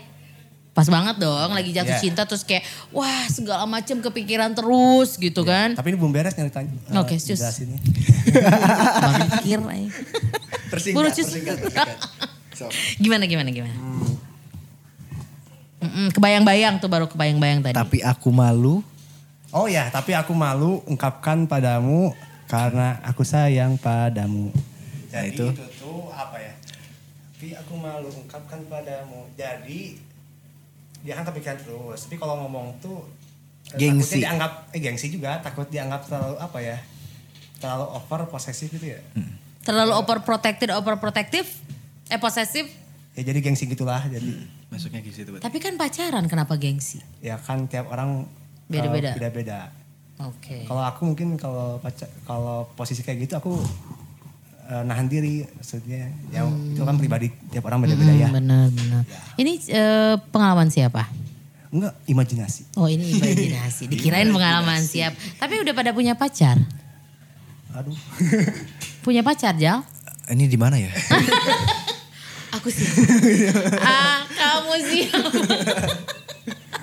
Pas banget dong lagi jatuh
Iya.
cinta terus kayak wah segala macem kepikiran terus gitu kan.
Tapi ini belum beres Ah, ceritanya.
Oke, cus.
Ini.
Pikir eh. aja.
Tersingkat,
Buru, cus.
tersingkat,
gimana gimana gimana? Mm-mm, kebayang-bayang tuh baru kebayang-bayang tadi.
Tapi aku malu.
Oh ya, tapi aku malu ungkapkan padamu karena aku sayang padamu.
Ya,
Jadi
itu.
itu. tuh apa ya? Tapi aku malu ungkapkan padamu. Jadi dia kan kepikiran terus. Tapi kalau ngomong tuh eh, Takutnya
Gengsi.
dianggap eh gengsi juga, takut dianggap terlalu apa ya? Terlalu over posesif gitu ya.
Terlalu overprotected, overprotective, eh posesif.
Ya jadi gengsi gitulah. Jadi
Masuknya ke situ.
Tapi kan pacaran kenapa gengsi?
ya kan tiap orang eh,
Beda-beda.
Beda-beda. Iya.
Oke.
Kalau aku mungkin kalau pacar kalau posisi kayak gitu aku eh, nahan diri maksudnya. Ya itu kan pribadi tiap orang beda-beda ya.
Hmm, benar benar. Ini eh, pengalaman siapa?
Enggak, imajinasi.
Oh ini imajinasi. Dikirain pengalaman siap. Tapi udah pada punya pacar.
Aduh.
Punya pacar Jal?
Ini di mana ya?
Aku sih. ah kamu sih.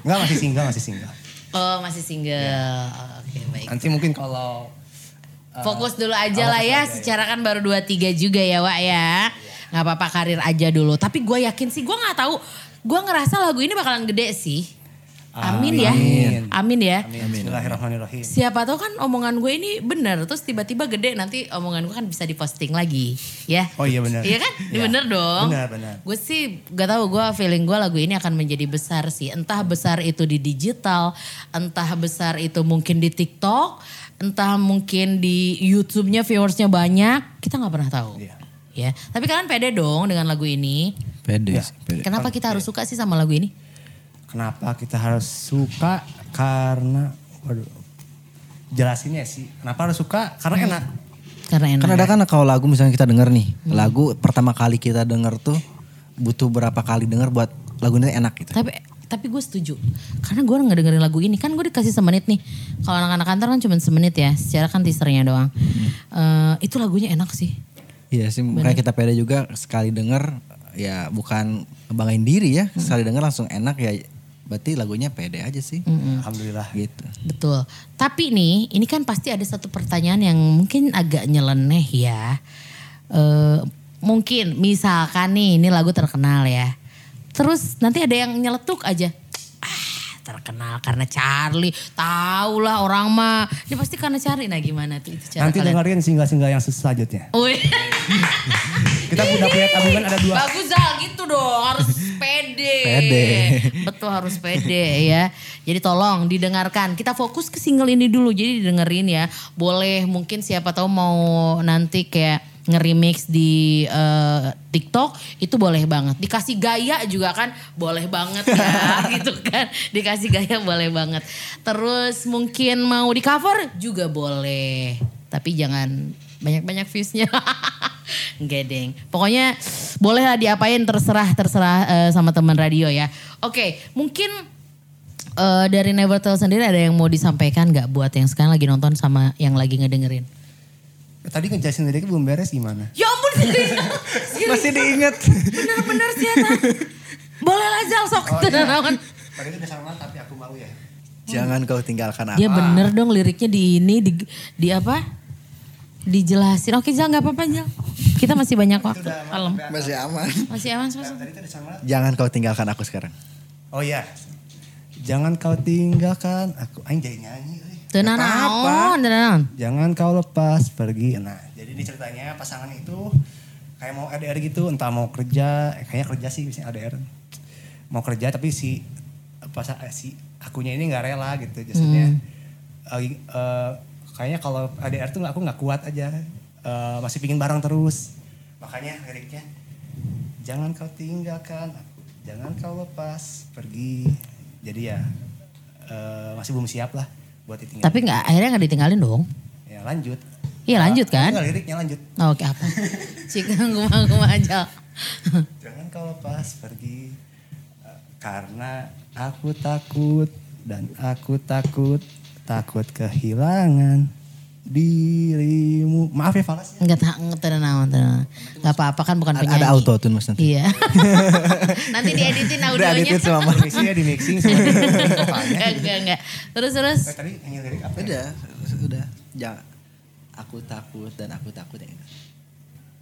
Enggak masih single, masih single.
oh masih single. Oke baik.
Nanti mungkin kalau
Eh, Fokus dulu aja lah ya. Secara kan baru 23 juga ya Wak ya. Gak apa-apa karir aja dulu. Tapi gue yakin sih gue gak tahu. Gue ngerasa lagu ini bakalan gede sih. Amin, ya.
Amin.
Amin ya.
Amin. Bismillahirrahmanirrahim.
Siapa tahu kan omongan gue ini benar terus tiba-tiba gede nanti omongan gue kan bisa diposting lagi ya.
Oh iya benar.
Iya kan?
Iya.
Bener dong.
Benar, benar.
Gue sih gak tahu gue feeling gue lagu ini akan menjadi besar sih. Entah besar itu di digital, entah besar itu mungkin di TikTok, entah mungkin di YouTube-nya viewersnya banyak. Kita nggak pernah tahu.
Iya.
Ya, tapi kalian pede dong dengan lagu ini.
Pede,
Ya.
sih, pede.
Kenapa kita harus suka sih sama lagu ini?
Kenapa kita harus suka? Karena waduh. Jelasinnya sih. Kenapa harus suka? Karena enak.
Karena enak.
Kan ada kan kalau lagu misalnya kita denger nih,
Hmm.
lagu pertama kali kita denger tuh butuh berapa kali denger buat lagunya enak gitu.
Tapi tapi gue setuju. Karena gue nggak dengerin lagu ini. Kan gue dikasih semenit nih. Kalau anak-anak kantor kan cuma semenit ya. Secara kan teasernya doang. Eh, itu lagunya enak sih.
Iya sih, makanya kita pede juga sekali denger ya bukan ngebanggain diri ya,
Hmm.
sekali denger langsung enak ya berarti lagunya pede aja sih.
Hmm.
Alhamdulillah.
Gitu.
Betul. Tapi nih, ini kan pasti ada satu pertanyaan yang mungkin agak nyeleneh ya. Eh, mungkin misalkan nih, ini lagu terkenal ya. Terus nanti ada yang nyeletuk aja. Ah, terkenal karena Charlie. Tahu lah orang mah. Ini pasti karena Charlie. Nah gimana tuh itu cara
Nanti
kalian?
dengerin single-single yang selanjutnya.
Wih.
Kita udah punya tabungan ada dua.
Bagus Zal gitu dong harus pede.
Pede.
Betul harus pede ya. Jadi tolong didengarkan. Kita fokus ke single ini dulu jadi didengerin ya. Boleh mungkin siapa tahu mau nanti kayak nge-remix di eh, TikTok itu boleh banget. Dikasih gaya juga kan boleh banget ya gitu kan. Dikasih gaya boleh banget. Terus mungkin mau di cover juga boleh. Tapi jangan banyak-banyak viewsnya. Enggak deng. Pokoknya bolehlah diapain terserah terserah eh, sama teman radio ya. Oke, mungkin eh, dari Never Tell sendiri ada yang mau disampaikan nggak buat yang sekarang lagi nonton sama yang lagi ngedengerin?
Tadi ngejelasin sendiri belum beres gimana?
Ya ampun Siri. Siri.
Masih diinget.
Bener-bener sih Eta. Boleh lah Zal sok. kan? tenanawan.
Tadi udah sama tapi aku malu ya.
Jangan kau tinggalkan aku.
Dia Ya bener dong liriknya di ini di, di apa? Dijelasin. Oke Zal nggak apa-apa Zal. Kita masih banyak waktu. Kalem.
Masih aman.
Masih aman masih-
Tadi tuh udah sama
Jangan kau tinggalkan aku sekarang.
Oh iya. Jangan kau tinggalkan aku anjay nyanyi. eh. euy.
nah, Tenanawan, tenanawan.
Jangan kau lepas pergi. Nah, jadi ini ceritanya pasangan itu kayak mau LDR gitu, entah mau kerja, eh, kayaknya kerja sih biasanya LDR. Mau kerja tapi si pas eh, si akunya ini nggak rela gitu jadinya. eh, eh, kayaknya kalau LDR tuh aku nggak kuat aja. Eh, masih pingin bareng terus. Makanya liriknya jangan kau tinggalkan aku, jangan kau lepas pergi. Jadi ya eh, masih belum siap lah buat ditinggal.
Tapi nggak akhirnya nggak ditinggalin dong.
Ya lanjut.
Iya, lanjut kan?
Enggak, liriknya lanjut.
Oh, Oke apa? Cikang kumang kumang aja.
Jangan kau lepas pergi eh, karena aku takut dan aku takut takut kehilangan dirimu. Maaf ya falas.
nah, Enggak tak enggak tenang tenang. Gak apa-apa kan bukan penyanyi.
Ada auto tune mas nanti.
Iya. Nanti dieditin
Udah
audionya.
edit sama Mas.
Mixingnya ya, di mixing sama vokalnya.
Enggak, enggak, enggak. Terus, terus.
Eh, tadi nyanyi lirik apa? ya?
Udah,
Iya.
udah. Jangan. Aku takut dan aku takut ya.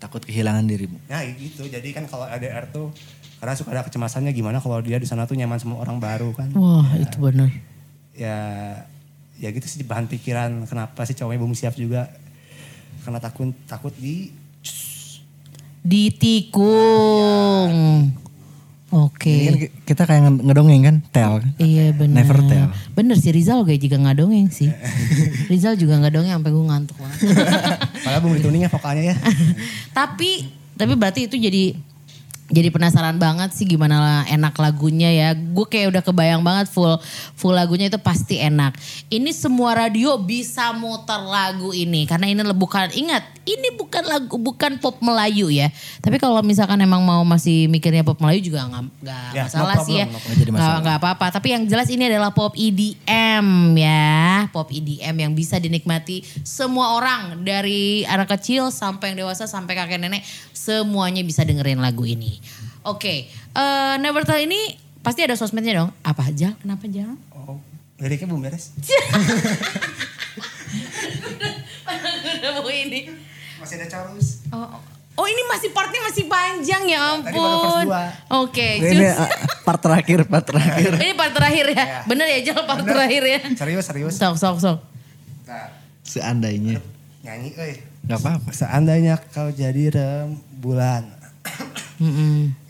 Takut kehilangan dirimu.
Nah gitu, jadi kan kalau ADR tuh karena suka ada kecemasannya gimana kalau dia di sana tuh nyaman sama orang baru kan.
Wah itu benar.
Ya ya gitu sih bahan pikiran kenapa sih cowoknya belum siap juga. Karena takut takut di
Ditikung.
Ini kan
Oke.
ki- kita kayak nged- ngedongeng kan, tel. kan?
Iya benar.
Never tell.
Bener sih Rizal gue juga nggak dongeng sih. Rizal juga nggak dongeng sampai gue ngantuk banget.
malah belum dituningnya vokalnya ya.
tapi tapi berarti itu jadi jadi penasaran banget sih gimana lah enak lagunya ya. Gue kayak udah kebayang banget full full lagunya itu pasti enak. Ini semua radio bisa muter lagu ini karena ini le- bukan ingat ini bukan lagu bukan pop Melayu ya. Tapi kalau misalkan emang mau masih mikirnya pop Melayu juga nggak nggak
Ya, no
masalah sih ya.
problem, no
problem. Jadi masalah.
Nggak- nggak apa-apa. Tapi yang jelas ini adalah pop EDM ya. Pop EDM yang bisa dinikmati semua orang. Dari anak kecil sampai yang dewasa sampai kakek nenek. Semuanya bisa dengerin lagu ini. Oke. eh, Never Tell ini pasti ada sosmednya dong. Apa aja? Kenapa aja?
Oh, liriknya belum beres.
ini.
Masih ada chorus.
Oh, oh ini masih partnya masih panjang ya
Tadi baru verse
ampun.
dua.
Oke.
Ini
cus.
ah, part terakhir, part terakhir.
Ini part terakhir ya. Bener ya Jal part
Iya. Bener.
terakhir ya.
Serius, serius.
Sok sok sok.
Nah,
Seandainya.
nyanyi euy.
Gak apa-apa.
Iya. Seandainya kau jadi rembulan.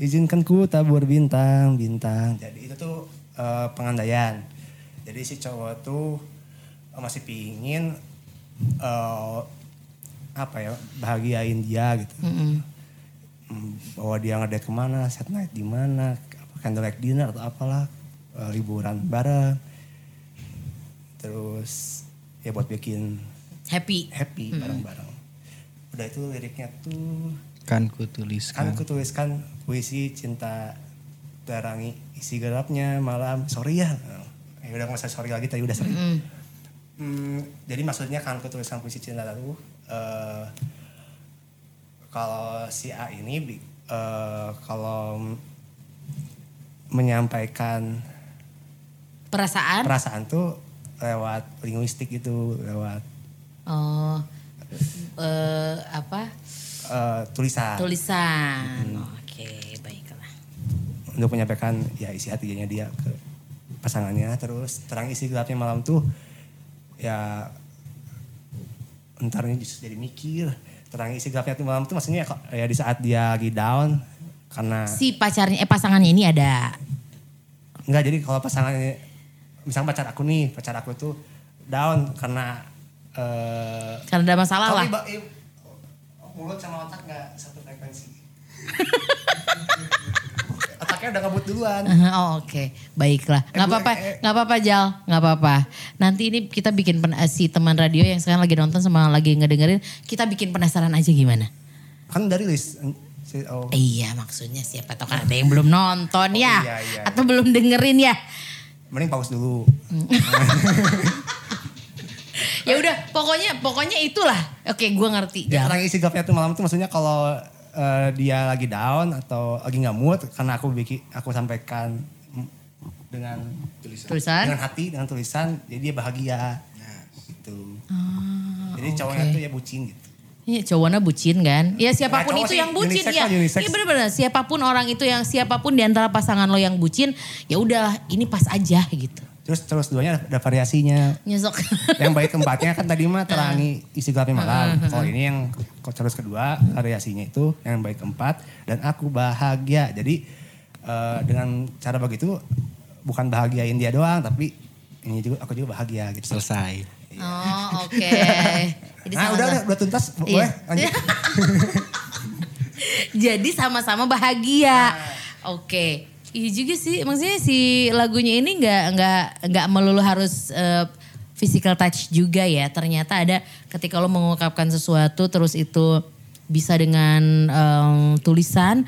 Izinkan ku tabur bintang, bintang. Jadi itu tuh eh, pengandaian. Jadi si cowok tuh eh, masih pingin eh, apa ya bahagiain dia gitu. Mm, Bahwa dia ngedek kemana, set night di mana, apa candlelight dinner atau apalah, eh, liburan bareng. Terus ya buat bikin
Happy.
happy bareng-bareng. Udah itu liriknya tuh
Kan ku
kan
tuliskan.
aku tuliskan puisi cinta terangi isi gelapnya malam sorry ya ya udah nggak usah sorry lagi tadi udah sering Hmm, jadi maksudnya kan aku tuliskan puisi cinta lalu eh, kalau si A ini bi- eh, kalau m- menyampaikan
Perasaan.
perasaan tuh lewat linguistik itu lewat
Oh, eh, apa
eh, tulisan
tulisan?
Hmm.
Oke, baiklah.
untuk menyampaikan ya isi hatinya dia ke pasangannya terus terang isi gelapnya malam tuh ya entarnya justru jadi mikir terang isi gelapnya tuh malam tuh maksudnya kok- ya di saat dia lagi down karena
Si pacarnya, eh pasangannya ini ada.
enggak jadi kalau pasangannya misalnya pacar aku nih pacar aku tuh down karena eh
Karena ada masalah lah.
tapi ba- eh, mulut sama otak nggak satu frekuensi otaknya udah ngebut duluan
Aha, Oh oke, baiklah. Nggak
gua-
apa-apa,
eh, eh.
nggak apa-apa Jal, nggak apa-apa. Nanti ini kita bikin pen- eh, si teman radio yang sekarang lagi nonton sama lagi ngedengerin, kita bikin penasaran aja gimana.
kan dari list si oh
Iya maksudnya siapa tahu kan ada yang belum nonton ya,
iya, iya,
atau belum dengerin ya.
mending pause dulu
Ya udah, pokoknya pokoknya itulah. Oke, gua ngerti Jal.
ya orang isi gapnya tuh malam tuh maksudnya kalau eh, dia lagi down atau lagi nggak mood karena aku bikin aku sampaikan mm, dengan tulisan
Tulisan?
dengan hati dengan tulisan jadi dia bahagia gitu jadi cowoknya
Ah, oke.
tuh ya bucin gitu
Iya cowoknya bucin kan? Ya siapapun
Nah, cowok
itu
sih
yang bucin
unisex
ya.
lah, unisex.
Iya benar-benar siapapun orang itu yang siapapun di antara pasangan lo yang bucin, ya udahlah ini pas aja gitu.
terus terus duanya ada variasinya
Nyesok.
yang baik keempatnya kan tadi mah terangi isi gelapnya malam. Kalau ini yang ko- terus kedua variasinya itu yang baik keempat dan aku bahagia. Jadi eh, dengan cara begitu bukan bahagiain dia doang tapi ini juga aku juga bahagia gitu.
Selesai.
oh, oke. Jadi
Nah, udah, udah
sama-sama.
udah tuntas bo-
Iya.
boleh lanjut.
Jadi sama-sama bahagia. Oke. Iya juga sih, maksudnya si lagunya ini nggak nggak nggak melulu harus eh, physical touch juga ya. Ternyata ada ketika lo mengungkapkan sesuatu terus itu bisa dengan em, tulisan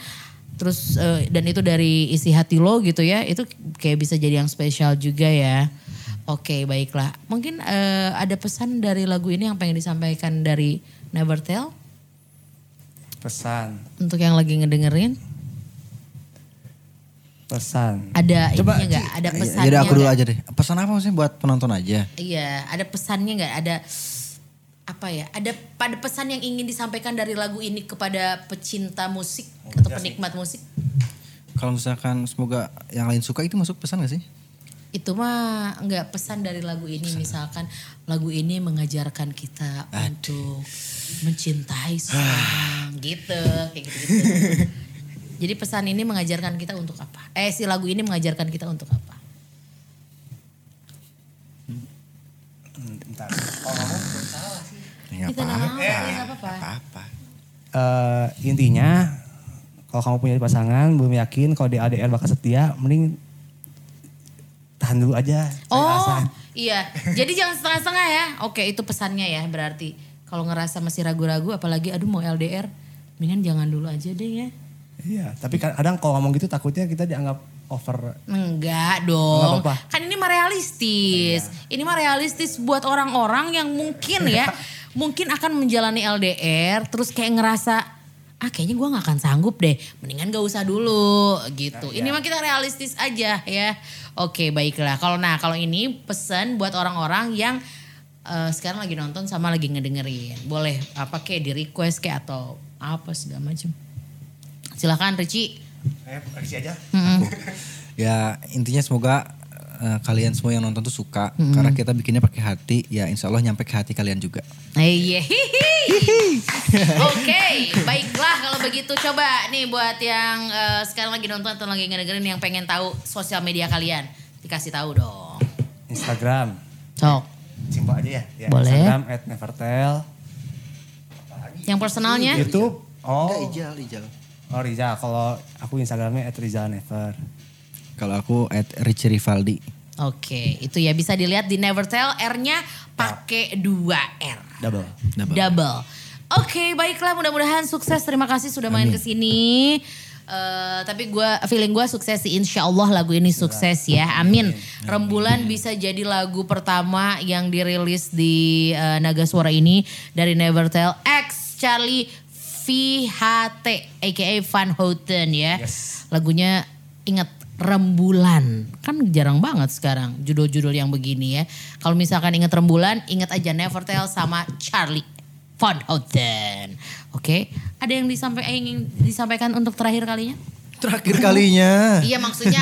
terus eh, dan itu dari isi hati lo gitu ya. Itu kayak bisa jadi yang spesial juga ya. Oke, baiklah. Mungkin eh, ada pesan dari lagu ini yang pengen disampaikan dari Never Tell?
pesan
Untuk yang lagi ngedengerin,
pesan
ada
Coba,
ininya nggak?
Ci. iya,
Ada
Ya,
pesannya
Jadi aku dulu
nggak?
aja deh. Pesan apa sih buat penonton aja?
Iya, ada pesannya nggak? Ada apa ya? Ada pada pesan yang ingin disampaikan dari lagu ini kepada pecinta musik atau penikmat musik?
Kalau misalkan semoga yang lain suka itu masuk pesan gak sih?
Itu mah nggak pesan dari lagu ini misalkan lagu ini mengajarkan kita untuk mencintai seseorang gitu, kayak gitu. Jadi pesan ini mengajarkan kita untuk apa? Eh si lagu ini mengajarkan kita untuk apa? Hmm.
bentar
Ya,
Kita
apa,
nggak mau, nggak apa-apa.
apa
Eh, intinya kalau kamu punya pasangan belum yakin kalau di ADR bakal setia mending tahan dulu aja cari
Oh
alasan.
iya, jadi jangan setengah-setengah ya. Oke itu pesannya ya berarti. Kalau ngerasa masih ragu-ragu apalagi aduh mau LDR. Mendingan jangan dulu aja deh ya.
iya tapi kan- kadang kalau ngomong gitu takutnya kita dianggap over
Enggak dong.
Nggak apa-apa.
Kan ini mah realistis. Ini mah realistis buat orang-orang yang mungkin ya. mungkin akan menjalani LDR. Terus kayak ngerasa ah kayaknya gue gak akan sanggup deh. Mendingan gak usah dulu gitu. Ini mah kita realistis aja ya. Oke baiklah. Kalau nah kalau ini pesan buat orang-orang yang eh, sekarang lagi nonton sama lagi ngedengerin. Boleh apa kayak di request kayak atau apa segala macam. Silahkan Ricci.
eh kasih aja
Ya intinya semoga eh, kalian semua yang nonton tuh suka karena kita bikinnya pakai hati ya insya Allah nyampe ke hati kalian juga.
Iya. Oke, baiklah kalau begitu coba nih buat yang eh, sekarang lagi nonton atau lagi ngedengerin yang pengen tahu sosial media kalian, dikasih tahu dong.
Instagram
Sok.
simpel aja ya, ya
Boleh.
Instagram at nevertel
Yang personalnya?
YouTube oh
Ijal, Ijal.
oh Rizal kalau aku Instagramnya at Rizal Never
Kalau aku at Rich Rivaldi.
Oke, itu ya bisa dilihat di Nevertell R-nya pakai 2 R.
double
Double. Oke, baiklah mudah-mudahan sukses. Terima kasih sudah main ke sini. Eh, tapi gua feeling gua sukses sih insya Allah lagu ini sukses ya amin rembulan bisa jadi lagu pertama yang dirilis di eh, Naga Suara ini dari Nevertell X Charlie VHT aka Van Houten ya
Yes.
lagunya ingat rembulan kan jarang banget sekarang judul-judul yang begini ya kalau misalkan ingat rembulan ingat aja Nevertell sama Charlie Van Houten oke ada yang disampa- eh, ingin disampaikan untuk terakhir kalinya
Terakhir kalinya.
iya maksudnya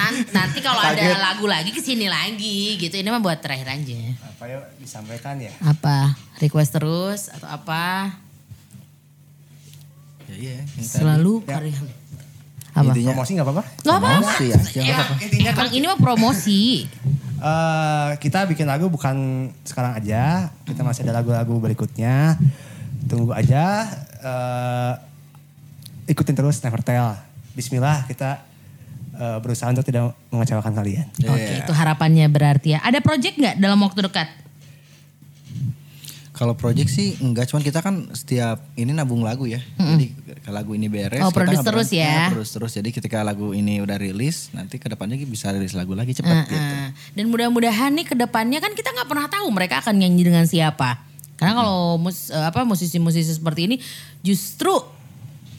nan- nanti kalau ada
Kaget.
lagu lagi kesini lagi gitu ini mah buat terakhir aja
apa yang disampaikan ya
apa request terus atau apa
Ya, iya. yang tadi.
selalu karya apa
Intinya
promosi nggak apa-apa
Gak apa-apa.
Promosi ya, jangan
Ya,
apa-apa.
Emang ini mah promosi.
Eh, kita bikin lagu bukan sekarang aja. Kita masih ada lagu-lagu berikutnya. Tunggu aja. eh, ikutin terus Nevertell. Bismillah kita eh, berusaha untuk tidak mengecewakan kalian.
Oke, itu harapannya berarti ya. Ada project nggak dalam waktu dekat?
Kalau project sih enggak, cuman kita kan setiap ini nabung lagu ya. Jadi kalau lagu ini beres,
Oh,
kita
produce
nggak
terus
berhenti, Nah,
ya.
Produce terus. Jadi ketika lagu ini udah rilis, nanti kedepannya bisa rilis lagu lagi cepat gitu.
Heeh. Nah, Dan mudah-mudahan nih ke depannya kan kita nggak pernah tahu mereka akan nyanyi dengan siapa. Karena kalau mus, eh, apa musisi-musisi seperti ini justru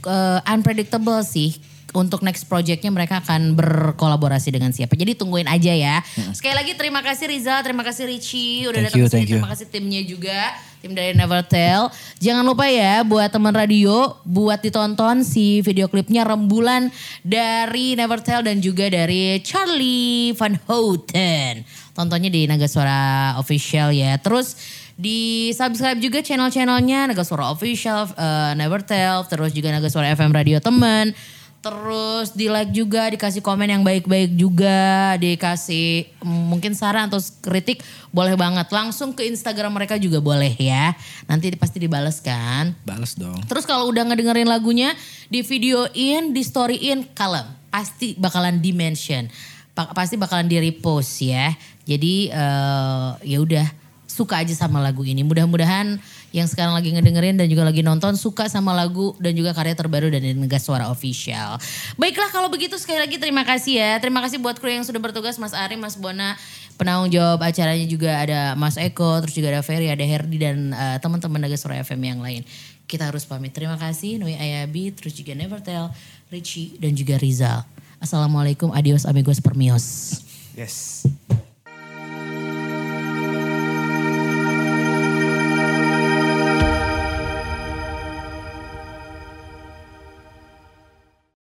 eh, unpredictable sih untuk next projectnya mereka akan berkolaborasi dengan siapa. Jadi tungguin aja ya. Sekali lagi terima kasih Rizal, terima kasih Richie udah
Thank
datang
you,
ke sini,
thank you.
terima kasih timnya juga, tim dari Nevertell. Jangan lupa ya buat teman radio buat ditonton si video klipnya rembulan dari Nevertell dan juga dari Charlie Van Houten. Tontonnya di Naga Suara Official ya. Terus di subscribe juga channel-channelnya Naga Suara Official, eh, Nevertell, terus juga Naga Suara FM Radio Teman. Terus di like juga, dikasih komen yang baik-baik juga, dikasih mm, mungkin saran atau kritik boleh banget. Langsung ke Instagram mereka juga boleh ya. Nanti pasti dibales kan.
Balas dong.
Terus kalau udah ngedengerin lagunya, di videoin, di storyin, kalem. Pasti bakalan di mention. Pa- pasti bakalan di repost ya. Jadi eh, ya udah suka aja sama lagu ini. Mudah-mudahan yang sekarang lagi ngedengerin dan juga lagi nonton suka sama lagu dan juga karya terbaru dari Negas Suara Official. Baiklah kalau begitu sekali lagi terima kasih ya. Terima kasih buat kru yang sudah bertugas Mas Ari, Mas Bona, penanggung jawab acaranya juga ada Mas Eko, terus juga ada Ferry, ada Herdi dan eh, teman-teman Naga Suara FM yang lain. Kita harus pamit. Terima kasih Nui Ayabi, terus juga Nevertel, Richie, dan juga Rizal. Assalamualaikum, adios amigos permios.
Yes.